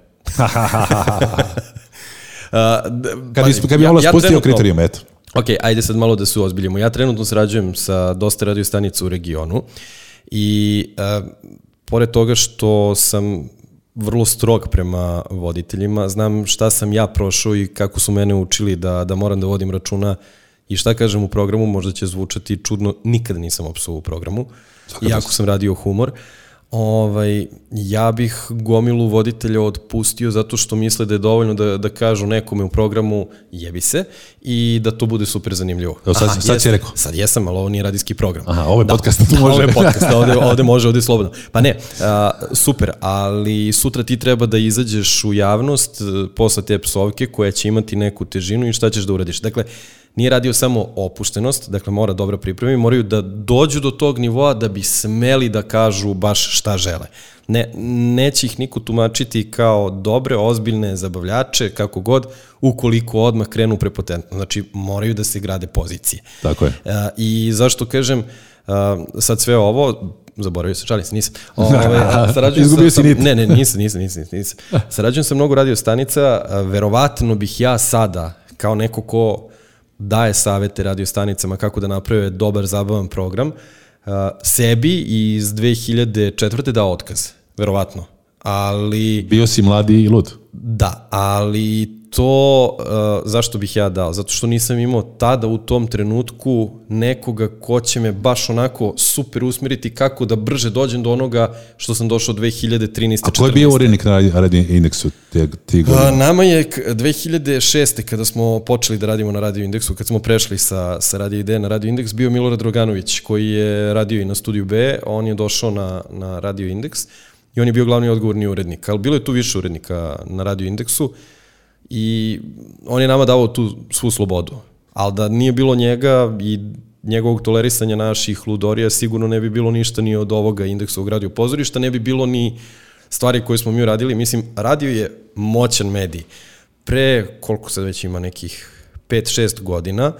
Speaker 2: Kad bi- kad bi malo spustio kriterijume, eto.
Speaker 3: Ok, ajde sad malo da se ozbiljimo. Ja trenutno sarađujem sa dosta radio stanica u regionu i e, pored toga što sam vrlo strog prema voditeljima, znam šta sam ja prošao i kako su mene učili da, da moram da vodim računa i šta kažem u programu, možda će zvučati čudno, nikada nisam opsuo u programu,
Speaker 2: Svaka
Speaker 3: iako
Speaker 2: čast.
Speaker 3: sam radio humor. Ovaj, ja bih gomilu voditelja otpustio zato što misle da je dovoljno da, da kažu nekome u programu jebi se i da to bude super zanimljivo.
Speaker 2: Evo, sad- sad si
Speaker 3: jesam.
Speaker 2: rekao.
Speaker 3: Sad jesam, ali ovo nije radijski program.
Speaker 2: Aha, ovo je
Speaker 3: Da.
Speaker 2: podcast, tu
Speaker 3: Da,
Speaker 2: može.
Speaker 3: Ovo je podcast, ovde, ovde može, ovde je slobodno. Pa ne, a, super, ali sutra ti treba da izađeš u javnost e, posle te psovke koja će imati neku težinu i šta ćeš da uradiš. Dakle, nije radio samo opuštenost, dakle mora dobra priprema i moraju da dođu do tog nivoa da bi smeli da kažu baš šta žele. Ne, neće ih niko tumačiti kao dobre, ozbiljne zabavljače, kako god, ukoliko odmah krenu prepotentno. Znači, moraju da se grade pozicije.
Speaker 2: Tako je.
Speaker 3: E, I zašto kažem, e, sad sve ovo, zaboravio se, šalim se, nisam. Ove, sarađujem
Speaker 2: Izgubio
Speaker 3: sa,
Speaker 2: si nit.
Speaker 3: Ne, ne, nisam, nisam, nisam, nisam. Sarađujem sa mnogo radio stanica, e, verovatno bih ja sada, kao neko ko daje savete radio stanicama kako da naprave dobar, zabavan program, e, sebi iz 2004. dao da otkaz, verovatno. Ali...
Speaker 2: Bio si mladi i lud.
Speaker 3: Da, ali to uh, zašto bih ja dao? Zato što nisam imao tada u tom trenutku nekoga ko će me baš onako super usmeriti kako da brže dođem do onoga što sam došao 2013.
Speaker 2: A ko je bio urednik na radi- radio indeksu te, ti
Speaker 3: A,
Speaker 2: godine?
Speaker 3: Pa, nama je k- 2006. kada smo počeli da radimo na Radio Indeksu, kad smo prešli sa, sa Radio ID na Radio Indeks, bio Milorad Roganović koji je radio i na Studiju B, on je došao na, na Radio Indeks i on je bio glavni odgovorni urednik, ali bilo je tu više urednika na Radio Indeksu i on je nama davao tu svu slobodu. Ali da nije bilo njega i njegovog tolerisanja naših ludorija, sigurno ne bi bilo ništa ni od ovoga indeksovog radio pozorišta, ne bi bilo ni stvari koje smo mi uradili. Mislim, radio je moćan medij. Pre, koliko sad već ima nekih 5-6 godina,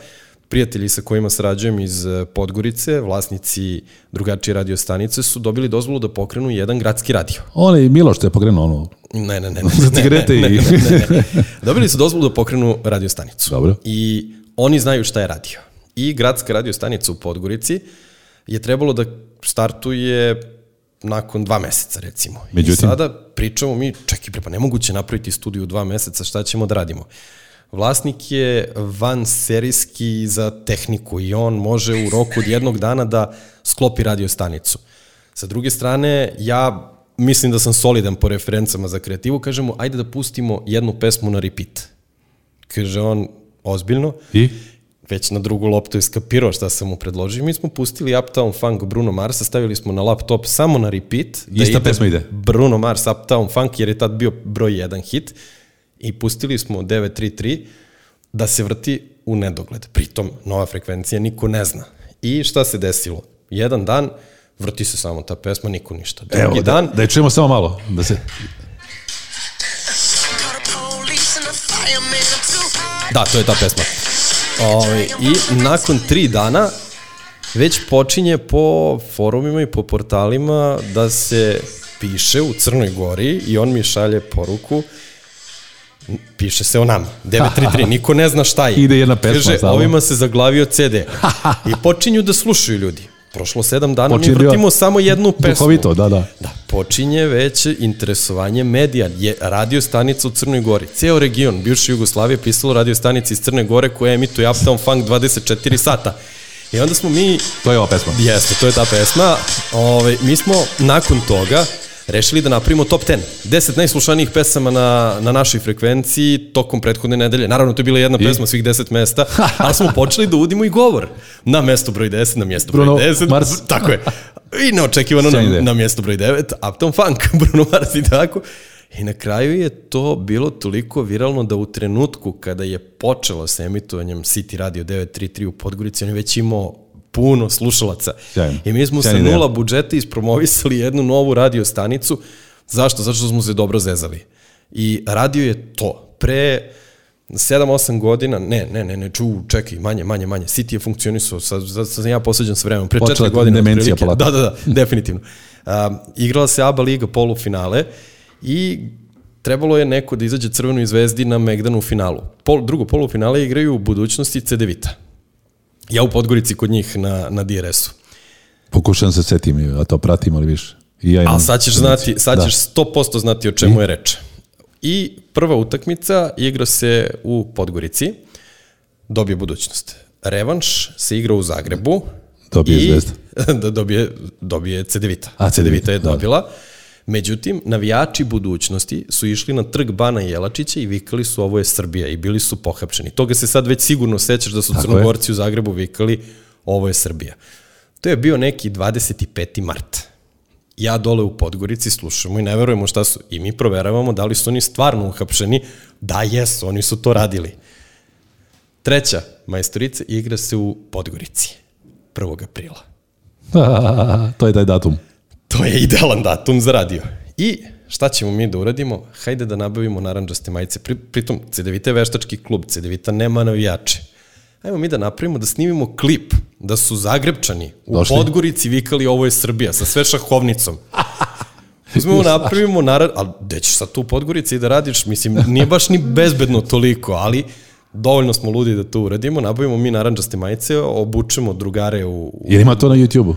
Speaker 3: prijatelji sa kojima sarađujem iz eh, Podgorice, vlasnici drugačije radio stanice, su dobili dozvolu da pokrenu jedan gradski radio.
Speaker 2: On je Miloš, što je pogrenuo ono.
Speaker 3: Ne, ne, ne. ne,
Speaker 2: Za cigarete
Speaker 3: ne, ne,
Speaker 2: i-
Speaker 3: ne, ne, ne, ne. Dobili su dozvolu da pokrenu radiostanicu.
Speaker 2: Dobro.
Speaker 3: I oni znaju šta je radio. I gradska radiostanica u Podgorici je trebalo da startuje nakon dva meseca, recimo. I
Speaker 2: Međutim.
Speaker 3: sada pričamo mi, čekaj, bre, pa nemoguće je napraviti studiju u dva meseca, šta ćemo da radimo? Vlasnik je van serijski za tehniku i on može u roku od jednog dana da sklopi radiostanicu. Sa druge strane, ja mislim da sam solidan po referencama za kreativu, kažemo, ajde da pustimo jednu pesmu na repeat. Kaže on, ozbiljno.
Speaker 2: I?
Speaker 3: Već na drugu loptu je skapirao šta sam mu predložio. Mi smo pustili Uptown Funk Bruno Marsa, stavili smo na laptop samo na repeat. da
Speaker 2: Ista pesma ide.
Speaker 3: Bruno Mars Uptown Funk, jer je tad bio broj jedan hit. I pustili smo 933 da se vrti u nedogled. Pritom, nova frekvencija niko ne zna. I šta se desilo? Jedan dan vrti se samo ta pesma, niko ništa. Drugi
Speaker 2: Evo,
Speaker 3: dan,
Speaker 2: da, da je čujemo samo malo. Da se,
Speaker 3: Da, to je ta pesma. Ove, I nakon tri dana već počinje po forumima i po portalima da se piše u Crnoj Gori i on mi šalje poruku piše se o nama. 933, niko ne zna šta je.
Speaker 2: Ide jedna pesma
Speaker 3: Kaže,
Speaker 2: samo.
Speaker 3: ovima se zaglavio CD. I počinju da slušaju ljudi. Prošlo sedam dana,
Speaker 2: Počinje
Speaker 3: mi vrtimo
Speaker 2: bio
Speaker 3: samo jednu pesmu
Speaker 2: duhovito, da, da.
Speaker 3: da počinje već interesovanje medija. Je radio stanica u Crnoj Gori. Ceo region bivše Jugoslavije pisalo radio stanici iz Crne Gore koja emituje Uptown Funk 24 sata. I onda smo mi...
Speaker 2: To je ova pesma.
Speaker 3: Jeste, to je ta pesma. Ove, mi smo ovaj, nakon toga rešili da napravimo top 10. 10 najslušanijih pesama na, na našoj frekvenciji tokom prethodne nedelje. Naravno, to je bila jedna I? pesma svih 10 mesta, ali smo počeli da udimo i govor. Na mesto broj 10, na mjesto broj
Speaker 2: Bruno
Speaker 3: 10.
Speaker 2: Mars.
Speaker 3: Tako je. I neočekivano na,
Speaker 2: Sjajna ideja.
Speaker 3: na mjesto broj 9, Uptown Funk, Bruno Mars i tako. I na kraju je to bilo toliko viralno da u trenutku kada je počelo sa emitovanjem City Radio 933 u Podgorici, on je već imao puno slušalaca.
Speaker 2: Sjajno.
Speaker 3: I mi smo sa
Speaker 2: Sjajna ideja.
Speaker 3: nula budžeta ispromovisali jednu novu radio stanicu. Zašto? Zato što smo se dobro zezali. I radio je to. Pre 7-8 godina, ne, ne, ne, ne, ču, čekaj, manje, manje, manje, City je funkcionisao, sad, sad, sad sam ja posveđan sa vremenom, pre
Speaker 2: Počela
Speaker 3: 4
Speaker 2: je
Speaker 3: godine.
Speaker 2: demencija
Speaker 3: otprilike.
Speaker 2: polako.
Speaker 3: Da, da, da, definitivno. Um, igrala se ABA Liga polufinale i trebalo je neko da izađe crvenoj zvezdi na Megdanu u finalu. Pol, drugo polufinale igraju u budućnosti CDVita. Ja u Podgorici kod njih na, na DRS-u.
Speaker 2: Pokušavam se setim, a to pratim, ali više. I ja imam Da.
Speaker 3: A sad ćeš znati, sad ćeš 100% znati o čemu je reč. I prva utakmica igra se u Podgorici, dobije budućnost. Revanš se igra u Zagrebu.
Speaker 2: Dobije
Speaker 3: i-
Speaker 2: Zvezda.
Speaker 3: da dobije, dobije Cedevita.
Speaker 2: A, Cedevita, da.
Speaker 3: je
Speaker 2: dobro.
Speaker 3: dobila. Međutim, navijači budućnosti su išli na trg Bana Jelačića i vikali su ovo je Srbija i bili su pohapšeni. Toga se sad već sigurno sećaš da su
Speaker 2: Tako je.
Speaker 3: Crnogorci u Zagrebu vikali ovo je Srbija. To je bio neki 25. mart ja dole u Podgorici slušamo i ne verujemo šta su. I mi proveravamo da li su oni stvarno uhapšeni. Da, jesu, oni su to radili. Treća majstorica igra se u Podgorici. 1. aprila.
Speaker 2: Da. to je taj datum.
Speaker 3: To je idealan datum za radio. I šta ćemo mi da uradimo? Hajde da nabavimo naranđaste majice. Pri, pritom, CDVita je veštački klub, CDVita nema navijače. Ajmo mi da napravimo, da snimimo klip da su Zagrebčani u
Speaker 2: Došli.
Speaker 3: Podgorici vikali ovo je Srbija sa sve šahovnicom. Uzmemo, napravimo, naravno, ali gde ćeš sad tu u Podgorici i da radiš, mislim, nije baš ni bezbedno toliko, ali dovoljno smo ludi da to uradimo, nabavimo mi naranđaste majice, obučemo drugare u, u
Speaker 2: Jer ima to na YouTube-u.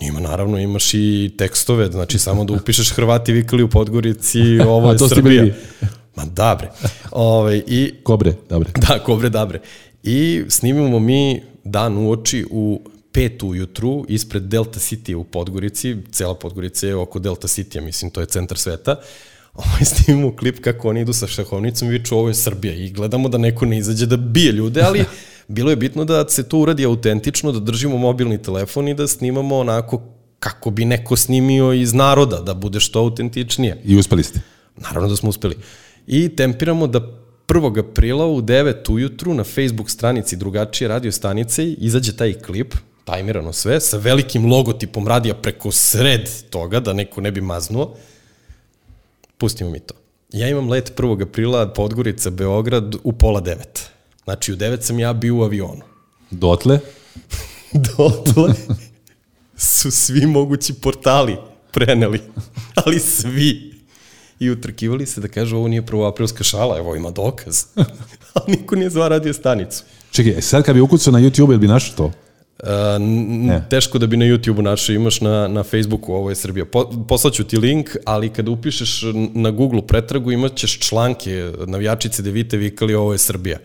Speaker 3: ima, naravno, imaš i tekstove, znači samo da upišeš Hrvati vikali u Podgorici, ovo
Speaker 2: A
Speaker 3: je
Speaker 2: to ste
Speaker 3: Srbija.
Speaker 2: bili vi.
Speaker 3: Ma da bre. Ove, i,
Speaker 2: kobre, dobre.
Speaker 3: Da, kobre, dobre. I snimimo mi dan u oči u pet ujutru ispred Delta City u Podgorici, cela Podgorica je oko Delta City, mislim, to je centar sveta. Ovaj snimimo klip kako oni idu sa šahovnicom i viču ovo je Srbija i gledamo da neko ne izađe da bije ljude, ali bilo je bitno da se to uradi autentično, da držimo mobilni telefon i da snimamo onako kako bi neko snimio iz naroda, da bude što autentičnije.
Speaker 2: I uspeli ste.
Speaker 3: Naravno da smo uspeli. I tempiramo da 1. aprila u 9 ujutru na Facebook stranici drugačije radio stanice izađe taj klip, tajmirano sve, sa velikim logotipom radija preko sred toga, da neko ne bi maznuo. Pustimo mi to. Ja imam let 1. aprila Podgorica, Beograd u pola 9. Znači u 9 sam ja bio u avionu.
Speaker 2: Dotle?
Speaker 3: Dotle Da, su svi mogući portali preneli, ali svi. I utrkivali se da kažu ovo nije prvoaprilska šala, evo ima dokaz. Ali niko nije zvao radio stanicu.
Speaker 2: Čekaj, e sad kad bi ukucao na YouTube, jel bi našao to?
Speaker 3: E, n-
Speaker 2: Ne.
Speaker 3: teško da bi na YouTube-u našao, imaš na, na Facebooku, ovo je Srbija. Po, poslaću ti link, ali kada upišeš n- na Google pretragu imat ćeš članke, navijačice devite vikali ovo je Srbija.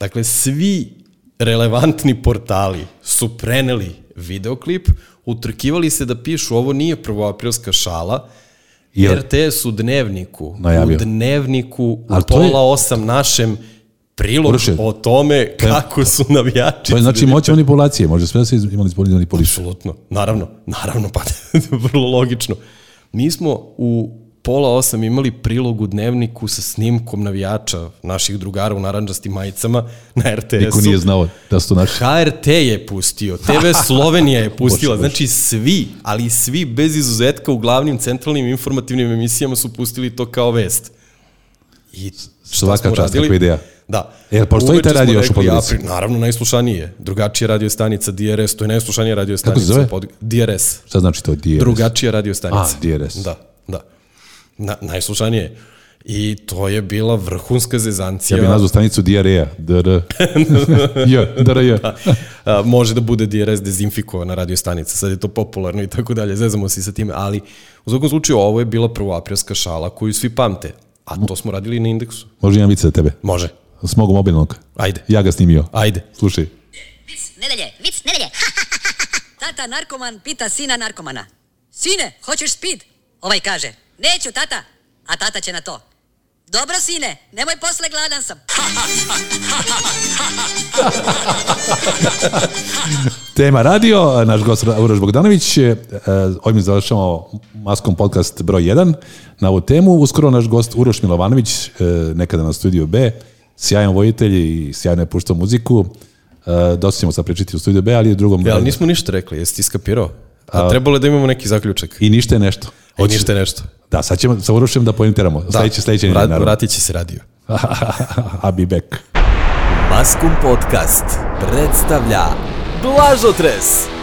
Speaker 3: Dakle, svi relevantni portali su preneli videoklip, utrkivali se da pišu ovo nije prvoaprilska šala,
Speaker 2: Jer-
Speaker 3: jer RTS u dnevniku,
Speaker 2: Najavio.
Speaker 3: u dnevniku, u
Speaker 2: Ali to je-
Speaker 3: pola osam našem prilog
Speaker 2: Uroše,
Speaker 3: o tome
Speaker 2: to je-
Speaker 3: kako su navijači.
Speaker 2: To je znači
Speaker 3: CDVita
Speaker 2: moć manipulacije, može sve da se iz- ima manipuliše.
Speaker 3: Apsolutno, naravno, naravno, pa vrlo logično. Mi smo u pola osam imali prilog u dnevniku sa snimkom navijača naših drugara u naranđastim majicama na RTS-u.
Speaker 2: Niko nije znao da su to naši.
Speaker 3: HRT je pustio, TV Slovenija je pustila,
Speaker 2: Bože, bože.
Speaker 3: znači svi, ali svi bez izuzetka u glavnim centralnim informativnim emisijama su pustili to kao vest. I šta
Speaker 2: Svaka
Speaker 3: smo
Speaker 2: čast,
Speaker 3: radili?
Speaker 2: kakva ideja.
Speaker 3: Da.
Speaker 2: Jel postoji taj
Speaker 3: Uveče
Speaker 2: radio
Speaker 3: smo
Speaker 2: još u
Speaker 3: rekli,
Speaker 2: Podgorici?
Speaker 3: apri- Naravno, najslušanije. Drugačija radio stanica DRS, to je najslušanija radio stanica.
Speaker 2: Kako se zove?
Speaker 3: Pod... DRS.
Speaker 2: Šta znači to? DRS?
Speaker 3: Drugačija radio stanica.
Speaker 2: A, DRS.
Speaker 3: Da, da. Na, najslušanije. I to je bila vrhunska zezancija.
Speaker 2: Ja bih nazvao stanicu diareja. DR. J, E. DR, J.
Speaker 3: Da. A, može da bude DRS dezinfikovana radio stanica, sad je to popularno i tako dalje, zezamo se i sa time, ali u svakom slučaju ovo je bila prvoaprilska šala koju svi pamte, a to smo radili i na indeksu.
Speaker 2: Može jedan vice za tebe?
Speaker 3: Može.
Speaker 2: S mog mobilnog.
Speaker 3: Ajde.
Speaker 2: Ja ga snimio.
Speaker 3: Ajde. E,
Speaker 2: Slušaj.
Speaker 18: Nedelje, vic, nedelje. Tata narkoman pita sina narkomana. Sine, hoćeš speed?
Speaker 11: Ovaj kaže, neću tata, a tata će na to. Dobro sine, nemoj posle gladan sam.
Speaker 2: Tema radio, naš gost Uroš Bogdanović, e, ovim završamo Maskom podcast broj 1 na ovu temu. Uskoro naš gost Uroš Milovanović, e, nekada na studiju B, sjajan vojitelj i sjajno je puštao muziku. E, Dosta ćemo sad pričati u studiju B, ali u drugom...
Speaker 3: E, ali
Speaker 2: delu.
Speaker 3: nismo ništa rekli, jesi ti skapirao?
Speaker 2: A-
Speaker 3: A trebalo je da imamo neki zaključak.
Speaker 2: I ništa je nešto.
Speaker 3: I E, ništa je nešto.
Speaker 2: Da, sad ćemo sa Urošem da poentiramo. Da. Sljedeće, sljedeće.
Speaker 3: Vrat- vratit će se radio.
Speaker 2: I'll be back.
Speaker 1: Maskum Podcast predstavlja Blažotres.